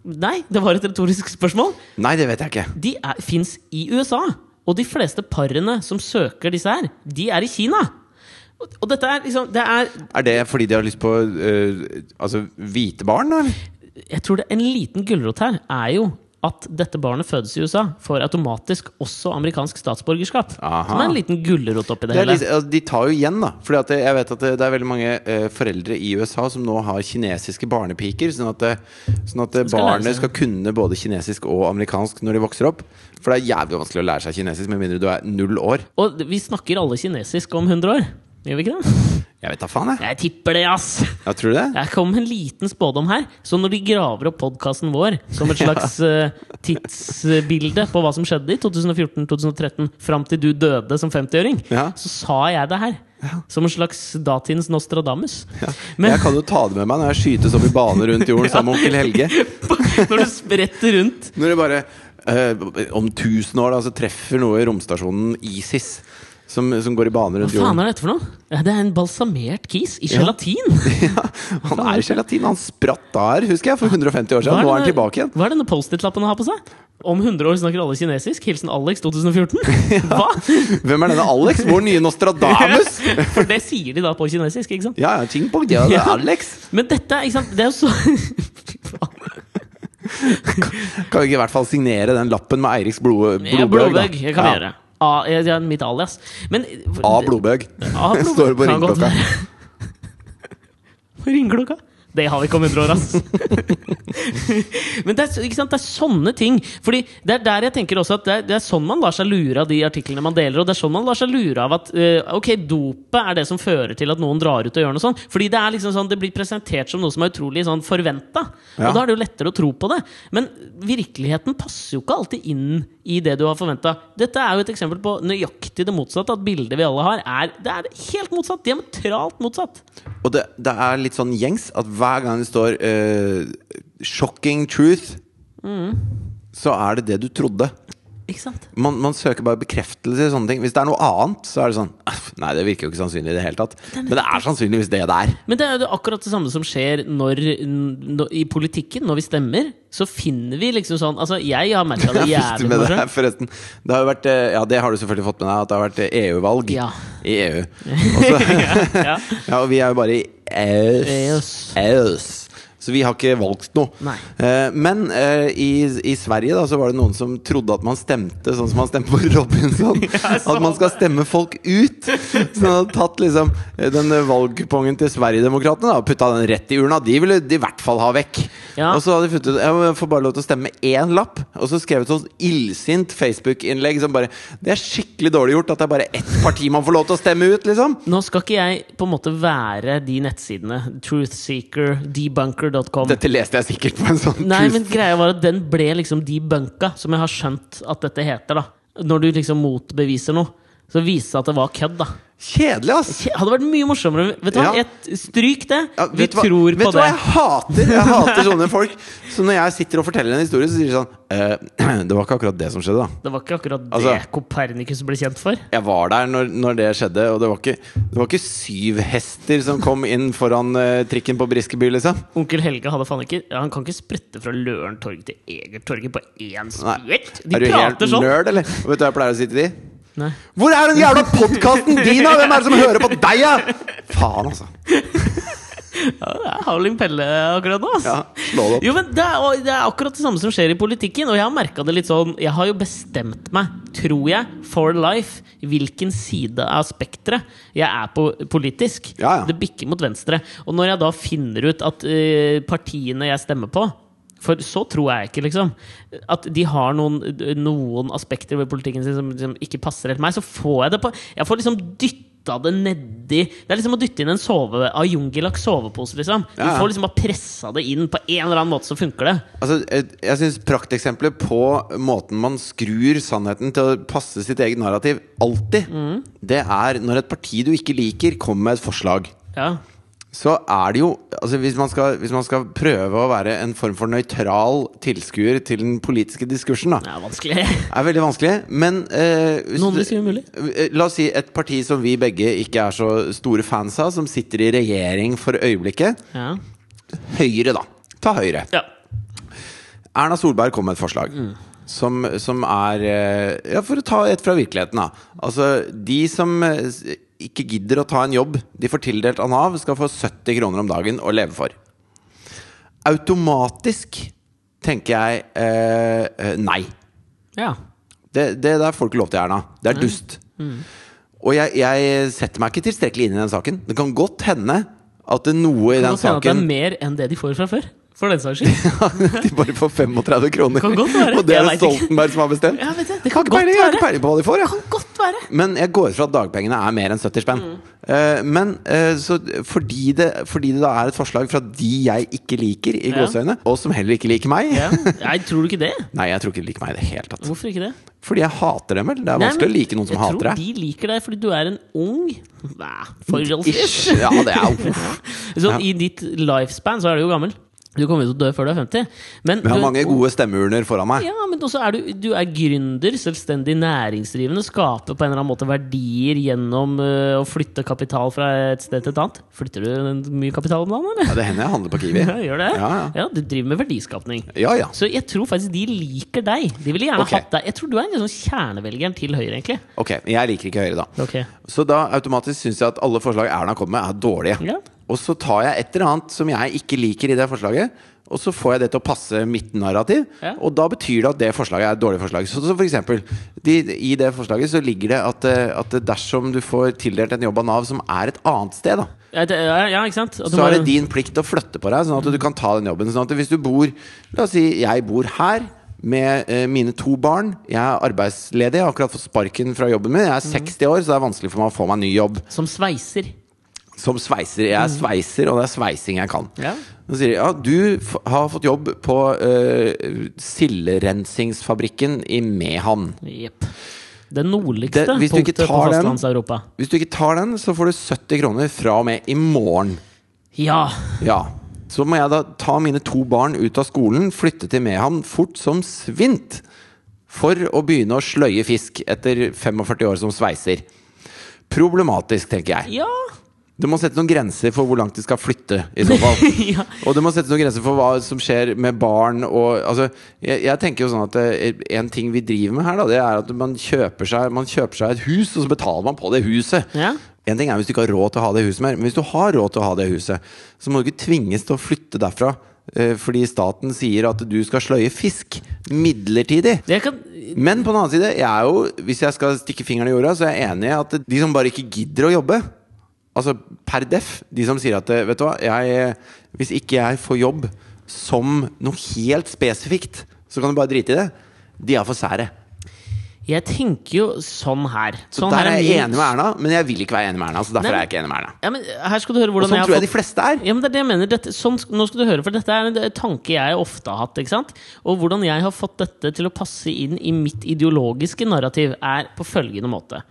B: Nei, det var et retorisk spørsmål.
A: Nei, det vet jeg ikke.
B: De fins i USA. Og de fleste parene som søker disse her, de er i Kina. Og, og dette er liksom Det er
A: Er det fordi de har lyst på eh, altså, hvite barn, da? eller?
B: jeg tror det en liten gulrot her er jo at dette barnet fødes i USA, får automatisk også amerikansk statsborgerskap.
A: Aha.
B: Så det er en liten gulrot oppi
A: Det
B: det,
A: er
B: hele.
A: litt, altså, de tar jo igjen, da. Fordi at eh, jeg vet at det, det er veldig mange eh, foreldre i USA som nå har kinesiske barnepiker. Sånn at, det- sånn at det
B: skal lære
A: barnet
B: seg.
A: skal kunne både kinesisk og amerikansk når de vokser opp. For det er jævlig vanskelig å lære seg kinesisk med mindre du er null år.
B: Og vi snakker alle kinesisk om 100 år. Gjør vi ikke det?
A: Jeg vet da faen, jeg.
B: Jeg tipper det, ass!
A: Ja, tror du det?
B: Jeg kom med en liten spådom her. Så når de graver opp podkasten vår som et slags eh, tidsbilde på hva som skjedde i 2014-2013, fram til du døde som 50-åring,
A: Ja.
B: så sa jeg det her. Som en slags datidens Nostradamus.
A: Jeg kan jo ta det med meg når jeg skytes opp i bane rundt jorden sammen med onkel Helge.
B: Når du spretter rundt
A: Når det bare eh, om tusen år da, så treffer noe i romstasjonen ISIS. Som, som går i bane rundt
B: Hva faen
A: jorden.
B: er dette for noe? Ja, Det er en balsamert kis i gelatin!
A: Ja, han er i gelatin. Han spratt der, husker jeg, for 150 år
B: Hva
A: siden. Nå er han
B: denne-
A: tilbake igjen.
B: Hva er denne Post-It-lappen han har på seg? Om 100 år snakker alle kinesisk. Hilsen Alex 2014. Hva?
A: Hvem er denne Alex? Vår nye Nostradamus?
B: For det sier de da på kinesisk, ikke sant?
A: Ja, ja, ting på det, det er Alex.
B: Men dette, ikke sant, det er jo så
A: Kan vi ikke i hvert fall signere den lappen med Eiriks blod,
B: Ja,
A: blodbøg? da?
B: Blodbøg. Jeg kan
A: Ja.
B: gjøre det. A, jeg, jeg, mitt alias. Men
A: A blodbøg.
B: A blodbøg
A: Står på
B: kan godt
A: ringeklokka.
B: På Ringeklokka? Det har vi ikke om 100 år, ass! Men det er, ikke sant? det er sånne ting. Fordi Det er der jeg tenker også at det er, det er sånn man lar seg lure av de artiklene man deler. Og det er sånn man lar seg lure av at eh, Ok, dopet er det som fører til at noen drar ut og gjør noe sånt. Fordi det er liksom sånn Det blir presentert som noe som er utrolig sånn forventa.
A: Ja.
B: Og da er det jo lettere å tro på det. Men virkeligheten passer jo ikke alltid inn i det du har forventa. Dette er jo et eksempel på nøyaktig det motsatte. At bildet vi alle har, er, det er helt motsatt. Diametralt motsatt.
A: Og det, det er litt sånn gjengs at hver gang det står
B: Mm.
A: eh, 'shocking truth', så er det det du trodde.
B: Ikke sant?
A: Man, man søker bare bekreftelse i sånne ting. Hvis det er noe annet, så er det sånn «Aff, Nei, det virker jo ikke sannsynlig i det hele tatt. Men det er sannsynligvis det det er.
B: Men det er jo det akkurat det samme som skjer når, når, i politikken, når vi stemmer. Så finner vi liksom sånn Altså, jeg har merka det
A: Jeg fikk
B: jævlig
A: med
B: morsomt.
A: deg, forresten. Det har jo vært eh, Ja, det har du selvfølgelig fått med deg, at det har vært eh, EU-valg
B: Ja.
A: i E EU. Og så-
B: Ja.
A: ja, og vi er jo bare i EØS.
B: EØS.
A: EØS. Så vi har ikke valgt noe.
B: Nei.
A: Eh, Men eh, i, i Sverige da, så var det noen som trodde at man stemte sånn som man stemte på Robinson. At man skal stemme folk ut! Så de hadde tatt liksom eh, den eh, valgkupongen til Sverigedemokraterna da, og putta den rett i urna. De ville de i hvert fall ha vekk.
B: Ja.
A: Og så hadde de funnet ut ja, men jeg får bare lov til å stemme med én lapp. Og så skrev et sånt illsint Facebook-innlegg som bare Det er skikkelig dårlig gjort at det er bare ett parti man får lov til å stemme ut, liksom!
B: Nå skal ikke jeg på en måte være de nettsidene. Truthseeker, debunker.com.
A: Dette leste jeg sikkert på en sånn
B: Nei,
A: tusen-
B: men greia var at den ble liksom debunka, som jeg har skjønt at dette heter. da Når du liksom motbeviser noe, så viser det seg at det var kødd. da
A: Kjedelig, ass!
B: Det hadde vært mye morsommere. Vet du hva,
A: Ja.
B: Jeg- Stryk det!
A: Ja,
B: vi
A: du hva-
B: tror
A: vet
B: på
A: du hva
B: det.
A: jeg hater? Jeg hater sånne folk. Så når jeg sitter og forteller en historie, så sier de sånn «Eh, Det var ikke akkurat det som skjedde, da.
B: Det var ikke akkurat det
A: Altså-
B: Kopernikus ble kjent for.
A: Jeg var der når, når det skjedde, og det var, ikke, det var ikke syv hester som kom inn foran eh, trikken på Briskeby, liksom.
B: Onkel Helge hadde faen ikke ja, Han kan ikke sprette fra Løren torg til Egertorget på én
A: Nei.
B: spurt! De
A: Er du helt
B: prater sånn!
A: nerd, eller? Og vet du hva jeg pleier å si til de?
B: Nei.
A: Hvor er den jævla podkasten din, da?! Hvem er det som hører på deg, da?! Faen, altså.
B: Ja, det er Howling Pelle akkurat nå, ass.
A: Ja, slå det opp.
B: Jo, men det er, og det er akkurat det samme som skjer i politikken. Og jeg har merket det litt sånn Jeg har jo bestemt meg, tror jeg, for life, hvilken side av spekteret jeg er på politisk.
A: Ja, ja.
B: Det bikker mot venstre. Og når jeg da finner ut at eh, partiene jeg stemmer på for så tror jeg ikke, liksom. At de har noen, noen aspekter ved politikken sin som, som ikke passer helt meg. Så får jeg det på Jeg får liksom dytta det nedi Det er liksom å dytte inn en sove av Jungelaks sovepose, liksom. Du
A: Ja, ja.
B: får liksom bare pressa det inn på en eller annen måte, så funker det.
A: Altså, jeg jeg syns prakteksempler på måten man skrur sannheten til å passe sitt eget narrativ, alltid,
B: Mm.
A: det er når et parti du ikke liker, kommer med et forslag.
B: Ja.
A: Så er det jo altså hvis, man skal, hvis man skal prøve å være en form for nøytral tilskuer til den politiske diskursen, da,
B: Det er vanskelig.
A: er veldig vanskelig, men eh, hvis
B: Noen
A: du-
B: vil si umulig.
A: Eh, La oss si et parti som vi begge ikke er så store fans av, som sitter i regjering for øyeblikket.
B: Ja.
A: Høyre, da. Ta Høyre.
B: ja.
A: Erna Solberg kom med et forslag.
B: Mm.
A: Som, som er eh, Ja, for å ta et fra virkeligheten, da. Altså, de som eh, s- ikke gidder å ta en jobb de får tildelt av Nav, skal få 70 kroner om dagen å leve for. Automatisk tenker jeg eh, eh, nei.
B: ja.
A: Det, det der får du ikke lov til, Erna. Det
B: Mm.
A: er dust. Og jeg, jeg setter meg ikke tilstrekkelig inn i den saken. Det kan godt hende at det er noe i
B: Kan
A: den
B: godt hende at det
A: saken
B: er mer enn det de får fra før. For den saks skyld.
A: De bare får 35 kroner.
B: Kan godt være.
A: Og det er det
B: Jeg vet ikke.
A: Stoltenberg som har bestemt.
B: Ja, vet du, det
A: Jeg
B: kan
A: har ikke peiling,
B: godt
A: jeg har ikke
B: være.
A: peiling på hva de får. Jeg.
B: Kan Mm. godt være.
A: Men jeg går ut fra at dagpengene er mer enn 70 spenn. Eh, men eh, så fordi det, fordi det da er et forslag fra de jeg ikke liker, i
B: Ja.
A: gåseøyne, og som heller ikke liker meg
B: Ja. Nei, tror du ikke det?
A: Nei, jeg tror ikke de liker meg i det hele tatt.
B: Hvorfor ikke det?
A: Fordi jeg hater dem, vel. Det er
B: Nei,
A: vanskelig å
B: men
A: like noen som hater deg.
B: Jeg tror de liker deg fordi du er en ung Nei, forholdsvis.
A: Ish. Ja, det er uff.
B: Så i ditt lifespan så er du jo gammel. Du kommer jo til å dø før du er 50. Men,
A: Men jeg har mange
B: du-
A: gode stemmeurner foran meg.
B: Ja, men også er du, du er gründer, selvstendig næringsdrivende, skaper på en eller annen måte verdier gjennom øh, å flytte kapital fra et sted til et annet. Flytter du mye kapital om dagen, eller?
A: Ja, det hender jeg handler på Kiwi.
B: Ja, gjør det?
A: Ja, ja.
B: du driver med verdiskapning.
A: Ja, ja.
B: Så jeg tror faktisk de liker deg. De ville gjerne
A: Ok.
B: hatt deg. Jeg tror du er en sånn kjernevelgeren til Høyre, egentlig.
A: Ok, jeg liker ikke Høyre, da.
B: Ok.
A: Så da automatisk syns jeg at alle forslag Erna kommer med, er dårlige.
B: Ja.
A: Og så tar jeg et eller annet som jeg ikke liker i det forslaget, og så får jeg det til å passe mitt narrativ.
B: Ja.
A: Og da betyr det at det forslaget er et dårlig forslag. Så, så for eksempel, de, i det forslaget så ligger det at, eh, at dersom du får tildelt en jobb av Nav som er et annet sted, da,
B: Ja, det- ja, ikke sant? At du
A: så er
B: må-
A: det din plikt å flytte på deg, sånn at du kan ta den jobben. Sånn at hvis du bor La oss si jeg bor her med eh, mine to barn. Jeg er arbeidsledig, jeg har akkurat fått sparken fra jobben min. Jeg
B: Mm.
A: er 60 år, så det er vanskelig for meg å få meg en ny jobb.
B: Som sveiser.
A: Som sveiser. Jeg er sveiser, og det er sveising jeg kan.
B: Mhm. Ja.
A: Så sier de ja, du f har fått jobb på eh, silderensingsfabrikken i Mehamn.
B: Jepp. Det nordligste
A: Det- hvis du ikke
B: punktet på
A: tar den-
B: fastlands-Europa.
A: Hvis du ikke tar den, så får du 70 kroner fra og med i morgen.
B: Ja!
A: Ja. Så må jeg da ta mine to barn ut av skolen, flytte til Mehamn fort som svint. for å begynne å sløye fisk etter 45 år som sveiser. Problematisk, tenker jeg.
B: Ja.
A: Du må sette noen grenser for hvor langt de skal flytte, i så fall.
B: Ja.
A: Og du må sette noen grenser for hva som skjer med barn og Altså, jeg, jeg tenker jo sånn at eh, en ting vi driver med her, da, det er at man kjøper seg, man kjøper seg et hus, og så betaler man på det huset.
B: Ja.
A: En ting er hvis du ikke har råd til å ha det huset mer, men hvis du har råd til å ha det huset, så må du ikke tvinges til å flytte derfra eh, fordi staten sier at du skal sløye fisk midlertidig.
B: Jeg kan,
A: Men på den annen side, jeg er jo, hvis jeg skal stikke fingeren i jorda, så er jeg enig i at de som bare ikke gidder å jobbe Altså per def, de som sier at Vet du hva, jeg, hvis ikke jeg får jobb som noe helt spesifikt, så kan du bare drite i det. De er for sære.
B: jeg tenker jo sånn her.
A: Så
B: Sånn
A: der
B: her
A: er jeg
B: min-
A: enig med Erna, men jeg vil ikke være enig med Erna. Så derfor
B: Nei, men-
A: er jeg ikke enig med Erna.
B: Ja, men her skal du høre
A: Og
B: hvordan
A: sånn
B: jeg
A: tror jeg
B: har
A: de fleste er.
B: Ja, men det er det jeg mener. Dette, sånn, sk- nå skal du høre, for dette er en d- tanke jeg ofte har hatt. ikke sant? Og hvordan jeg har fått dette til å passe inn i mitt ideologiske narrativ, er på følgende måte.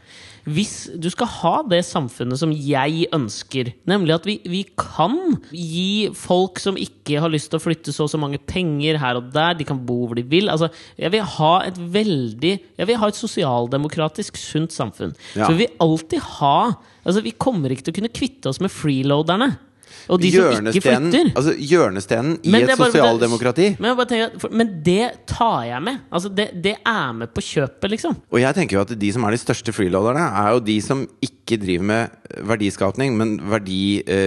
B: Hvis du skal ha det samfunnet som jeg ønsker, nemlig at vi, vi kan gi folk som ikke har lyst til å flytte så og så mange penger her og der, de kan bo hvor de vil altså, Jeg vil ha et veldig Jeg vil ha et sosialdemokratisk, sunt samfunn.
A: Ja.
B: Så vi vil alltid ha Altså, vi kommer ikke til å kunne kvitte oss med freeloaderne. Og de som ikke
A: Hjørnestenen,
B: flytter.
A: altså, hjørnestenen i
B: Men
A: et
B: det er bare-
A: sosialdemokrati.
B: Men, jeg bare tenker, at- for, men det tar jeg med. Altså, det, det er med på kjøpet, liksom.
A: Og jeg tenker jo at de som er de største freeloaderne, er jo de som ikke driver med eh, verdiskapning, men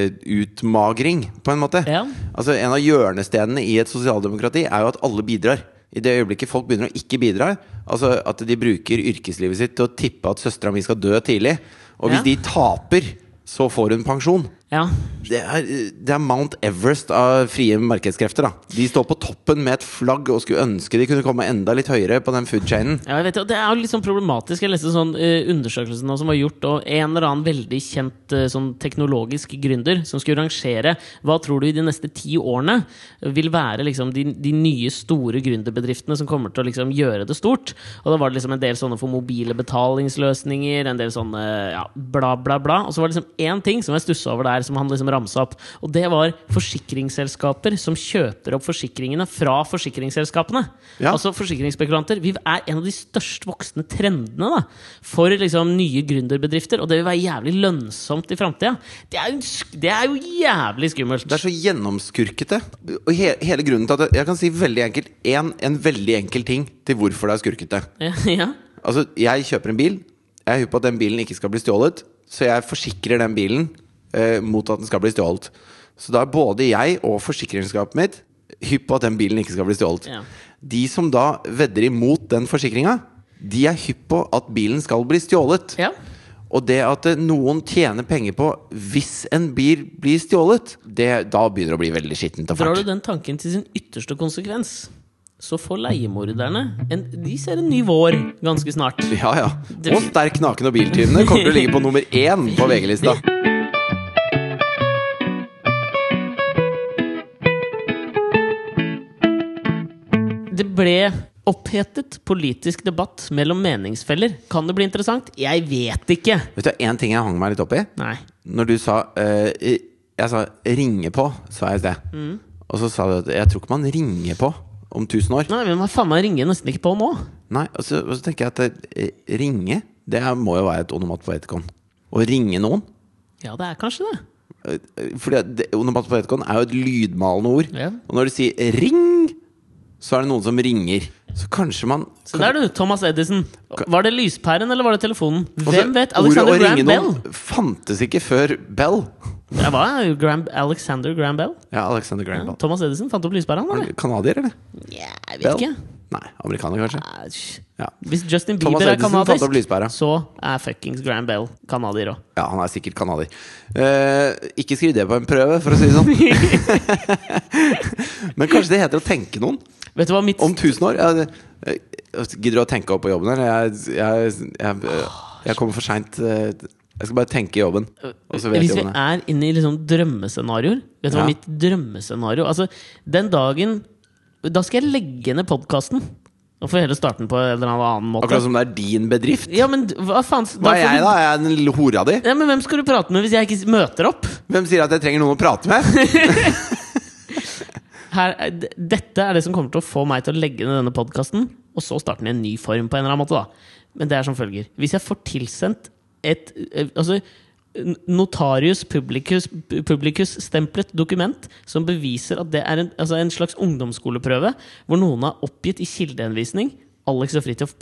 A: verdiutmagring, på en måte.
B: Ja.
A: Altså En av hjørnestenene i et sosialdemokrati er jo at alle bidrar. I det øyeblikket folk begynner å ikke bidra, altså at de bruker yrkeslivet sitt til å tippe at søstera mi skal dø tidlig, og hvis
B: Ja.
A: de taper, så får hun pensjon.
B: Ja.
A: Det er, det er Mount Everest av frie markedskrefter. da De står på toppen med et flagg og skulle ønske de kunne komme enda litt høyere på den food chainen.
B: Ja, jeg vet, det, og det er jo litt sånn problematisk. Jeg leste en sånn eh, undersøkelse nå som var gjort, og en eller annen veldig kjent eh, sånn teknologisk gründer som skulle rangere hva tror du i de neste ti årene vil være liksom, de, de nye store gründerbedriftene som kommer til å liksom, gjøre det stort. Og da var det liksom en del sånne for mobile betalingsløsninger, en del sånne ja, bla, bla, bla. Og så var det liksom én ting som jeg stussa over der, som han liksom ramsa opp, og det var forsikringsselskaper som kjøper opp forsikringene fra forsikringsselskapene.
A: Ja.
B: Altså altså forsikringsspekulanter vi er en av de størst voksende trendene da, for liksom, nye gründerbedrifter. Og det vil være jævlig lønnsomt i framtida. Det, er jo sk- det er jo jævlig skummelt.
A: Det er så gjennomskurkete. Og he hele grunnen til at Jeg kan si veldig enkelt en, en veldig enkel ting til hvorfor det er skurkete.
B: Ja, ja.
A: Altså, jeg kjøper en bil. Jeg er hypp på at den bilen ikke skal bli stjålet, så jeg forsikrer den bilen eh, mot at den skal bli stjålet. Så da er både jeg og forsikringsskapet mitt hypp på at den bilen ikke skal bli stjålet.
B: Ja.
A: De som da vedder imot den forsikringa, de er hypp på at bilen skal bli stjålet.
B: Ja.
A: Og det at eh, noen tjener penger på hvis en bil blir stjålet, det, da begynner det å bli veldig skittent og
B: Drar du
A: fælt.
B: den tanken til sin ytterste konsekvens, så får leiemorderne en, De ser en ny vår ganske snart.
A: Ja, ja.
B: Du-
A: Og Sterk naken og biltyvene kommer til å ligge på nummer én på VG-lista.
B: Det ble opphetet politisk debatt mellom meningsfeller. Kan det bli interessant? Jeg vet ikke.
A: Vet du én ting jeg hang meg litt opp i?
B: Nei.
A: Når du sa eh, Jeg sa 'ringe på', sa jeg i sted.
B: Mm.
A: Og så sa du at 'jeg tror ikke man ringer på om 1000 år'.
B: Nei, men hva faen, jeg ringer nesten ikke på nå.
A: Nei, og så, og så tenker jeg at eh, ringe, det er- må jo være et onomatpoetikon. Å ringe noen
B: Ja, det er kanskje det.
A: Eh, Fordi at det- onomatopoetikon er jo et lydmalende ord.
B: Ja.
A: Og når du sier 'ring', så er det noen som ringer. Så kanskje man
B: Så der, du. Thomas Edison. Var det lyspæren eller var det telefonen?
A: Altså,
B: Hvem vet?
A: ordet å
B: Alexander
A: ringe
B: Graham Bell.
A: noen fantes ikke før Bell.
B: Det var jo Graham, Alexander Graham Bell.
A: Ja, Alexander Graham Bell.
B: Thomas Edison fant opp lyspæren, han, eller?
A: Canadier, eller?
B: Ja, jeg vet
A: Bell?
B: ikke.
A: Nei, amerikaner, kanskje.
B: Æsj.
A: Ja.
B: Hvis Justin
A: Thomas
B: Bieber er
A: Edison fant opp
B: kanadisk,
A: lyspæra.
B: så er fuckings Graham Bell kanadier òg.
A: ja, han er sikkert canadier. Eh, ikke skriv det på en prøve, for å si det sånn. Men kanskje det heter å tenke noen?
B: Vet du hva mitt
A: Om 1000 år? Ja, det- eh, gidder du å tenke opp på jobben, eller? Jeg, jeg, jeg, eh, jeg kommer for seint. Jeg skal bare tenke i jobben, og så vet
B: Hvis
A: jeg
B: vi
A: jobben er.
B: er inne i liksom drømmescenarioer Vet
A: Ja.
B: du hva mitt drømmescenario Altså, den dagen Da skal jeg legge ned podkasten. Og får heller starte den på en eller annen måte.
A: Akkurat som det er din bedrift.
B: Ja, men hva faen
A: Hva er
B: får
A: jeg,
B: du-
A: da? Er jeg den l- hora di?
B: Ja, men Hvem skal du prate med hvis jeg ikke møter opp?
A: Hvem sier at jeg trenger noen å prate med?
B: Her, er- d- dette er det som kommer til å få meg til å legge ned denne podkasten. og så starte den i en ny form på en eller annen måte. da. Men det er som følger. Hvis jeg får tilsendt et eh, altså, n- notarius publicus, publicus stemplet dokument som beviser at det er en, altså en slags ungdomsskoleprøve hvor noen har oppgitt i kildehenvisning Alex og Fridtjof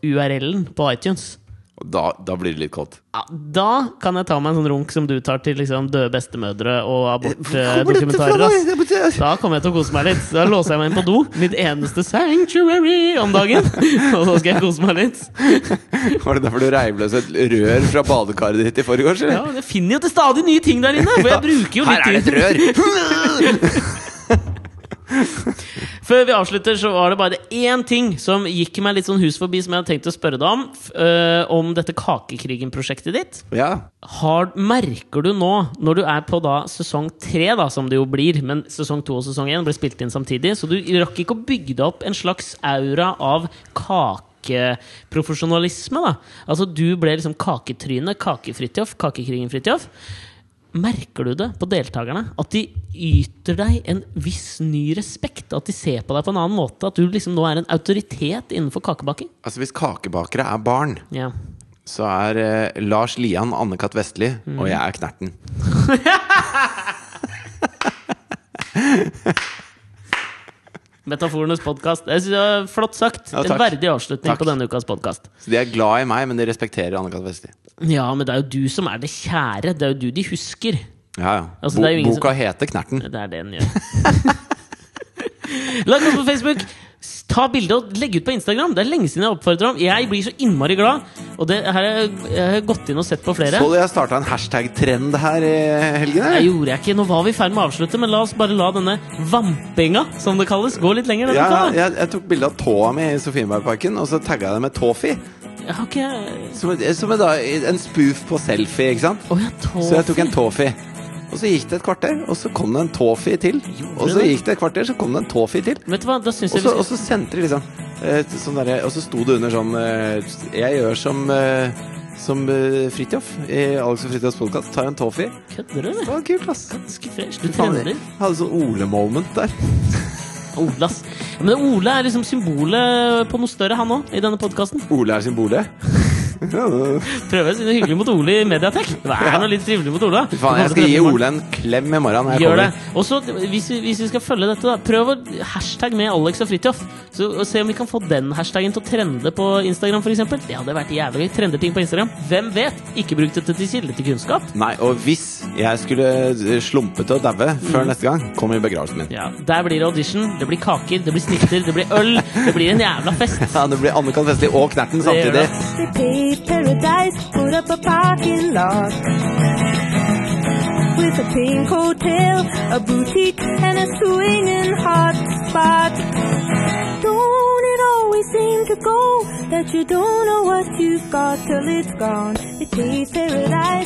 B: podkast-URL-en på iTunes.
A: Og Da, da blir det litt kaldt.
B: Ja, da kan jeg ta meg en sånn runk som du tar til liksom, døde bestemødre og
A: Eh, Hvor kommer dette fra,
B: abortdokumentarer. Eh, ass. Da kommer jeg til å kose meg litt. Da låser jeg meg inn på do. Mitt eneste sanctuary om dagen. Og så skal jeg kose meg litt.
A: Var det derfor du reiv løs et rør fra badekaret ditt i forgårs?
B: Ja,
A: eller?
B: Jeg finner jo til stadig nye ting der inne! For jeg bruker jo
A: Her er
B: litt
A: det et rør!
B: Før vi avslutter, så var det bare én ting som gikk meg litt sånn hus forbi, som jeg hadde tenkt å spørre deg om. f- øh, om dette Kakekrigen-prosjektet ditt.
A: Ja.
B: Har, merker du nå, når du er på da sesong tre, da, som det jo blir Men sesong to og sesong én ble spilt inn samtidig, så du rakk ikke å bygge deg opp en slags aura av kakeprofesjonalisme, da. Altså, du ble liksom kaketrynet, Kake-Fridtjof, Kakekrigen-Fridtjof. Merker du det på deltakerne? At de yter deg en viss ny respekt? At de ser på deg på en annen måte? At du liksom nå er en autoritet innenfor kakebaking?
A: Altså, hvis kakebakere er barn,
B: Ja.
A: så er eh, Lars Lian Anne-Kat. Vestli, og jeg er Knerten.
B: Metaforenes podkast. Jeg synes det var Flott sagt.
A: Ja,
B: en
A: takk.
B: verdig avslutning
A: Takk.
B: på denne ukas podkast.
A: Så de er glad i meg, men de respekterer Anne-Kat. Vestli.
B: Ja, men det er jo du som er det kjære. Det er jo du de husker.
A: Ja, ja.
B: Altså,
A: Bo
B: det er jo ingen som-
A: boka heter Knerten.
B: Det er det den gjør. Lag oss på Facebook. S- Ta bilde og legg ut på Instagram. Det er lenge siden jeg oppfordrer om. Jeg blir så innmari glad. Og det her har jeg- jeg har gått inn og sett på flere.
A: Så du jeg starta en hashtag-trend her i helgen?
B: Det
A: eller?
B: gjorde jeg ikke. Nå var vi i ferd med å avslutte, men la oss bare la denne vampinga, som det kalles, gå litt lenger. denne
A: Ja,
B: uka, da.
A: jeg, jeg tok bilde av tåa mi i Sofienbergparken, og så tagga jeg det med Tåfi.
B: Jeg har ikke
A: Som, et- som et da, en spoof på selfie, ikke sant?
B: Å ja,
A: Så jeg tok en
B: Tofi.
A: Tåfi. Og så gikk det et kvarter, og så kom det en Tåfi til. Og så
B: det?
A: gikk det et kvarter, så kom det en Tåfi til.
B: Vet du hva, da syns
A: Og så,
B: jeg vi
A: og
B: skal
A: så sendte de liksom eh, sånn derre Og så sto det under sånn eh, Jeg gjør som eh, som eh, Fridtjof i Alex og Fridtjofs podkast. Tar en Tåfi.
B: Kødder du,
A: Det
B: eller?
A: var kult, ass.
B: Ganske fresh. Du
A: Faen,
B: trener.
A: jeg Hadde sånn Ole-moment der.
B: Ole, ass. Ja, Men Ole er liksom symbolet på noe større, han òg, i denne podkasten.
A: Ole er symbolet.
B: Prøve å si noe hyggelig mot Ole i Mediatek. Vær nå litt trivelig mot Ole.
A: Faen, jeg skal gi Ole en klem i morgen når jeg
B: Gjør det.
A: kommer.
B: Og så, hvis, vi- hvis vi skal følge dette, da, prøv å hashtag med Alex og Fridtjof. Så- og Se om vi kan få den hashtagen til å trende på Instagram, f.eks. Det hadde vært jævlig gøy. Trender ting på Instagram. Hvem vet? Ikke bruk dette til kilde til kunnskap.
A: Nei, og hvis jeg skulle slumpe til å daue
B: Mm.
A: før neste gang, kom i begravelsen min.
B: Ja, Der blir det audition, det blir kaker, det blir snitter, det blir øl. Det blir en jævla fest.
A: Ja, det blir Anne-Kat. Vestli og Knerten
B: Det gjør
A: samtidig.
B: det.
C: They paved paradise, put up a parking lot. With a pink hotel, a boutique, and a swinging hot spot. Don't it always seem to go that you don't know what you've got till it's gone? They paved paradise.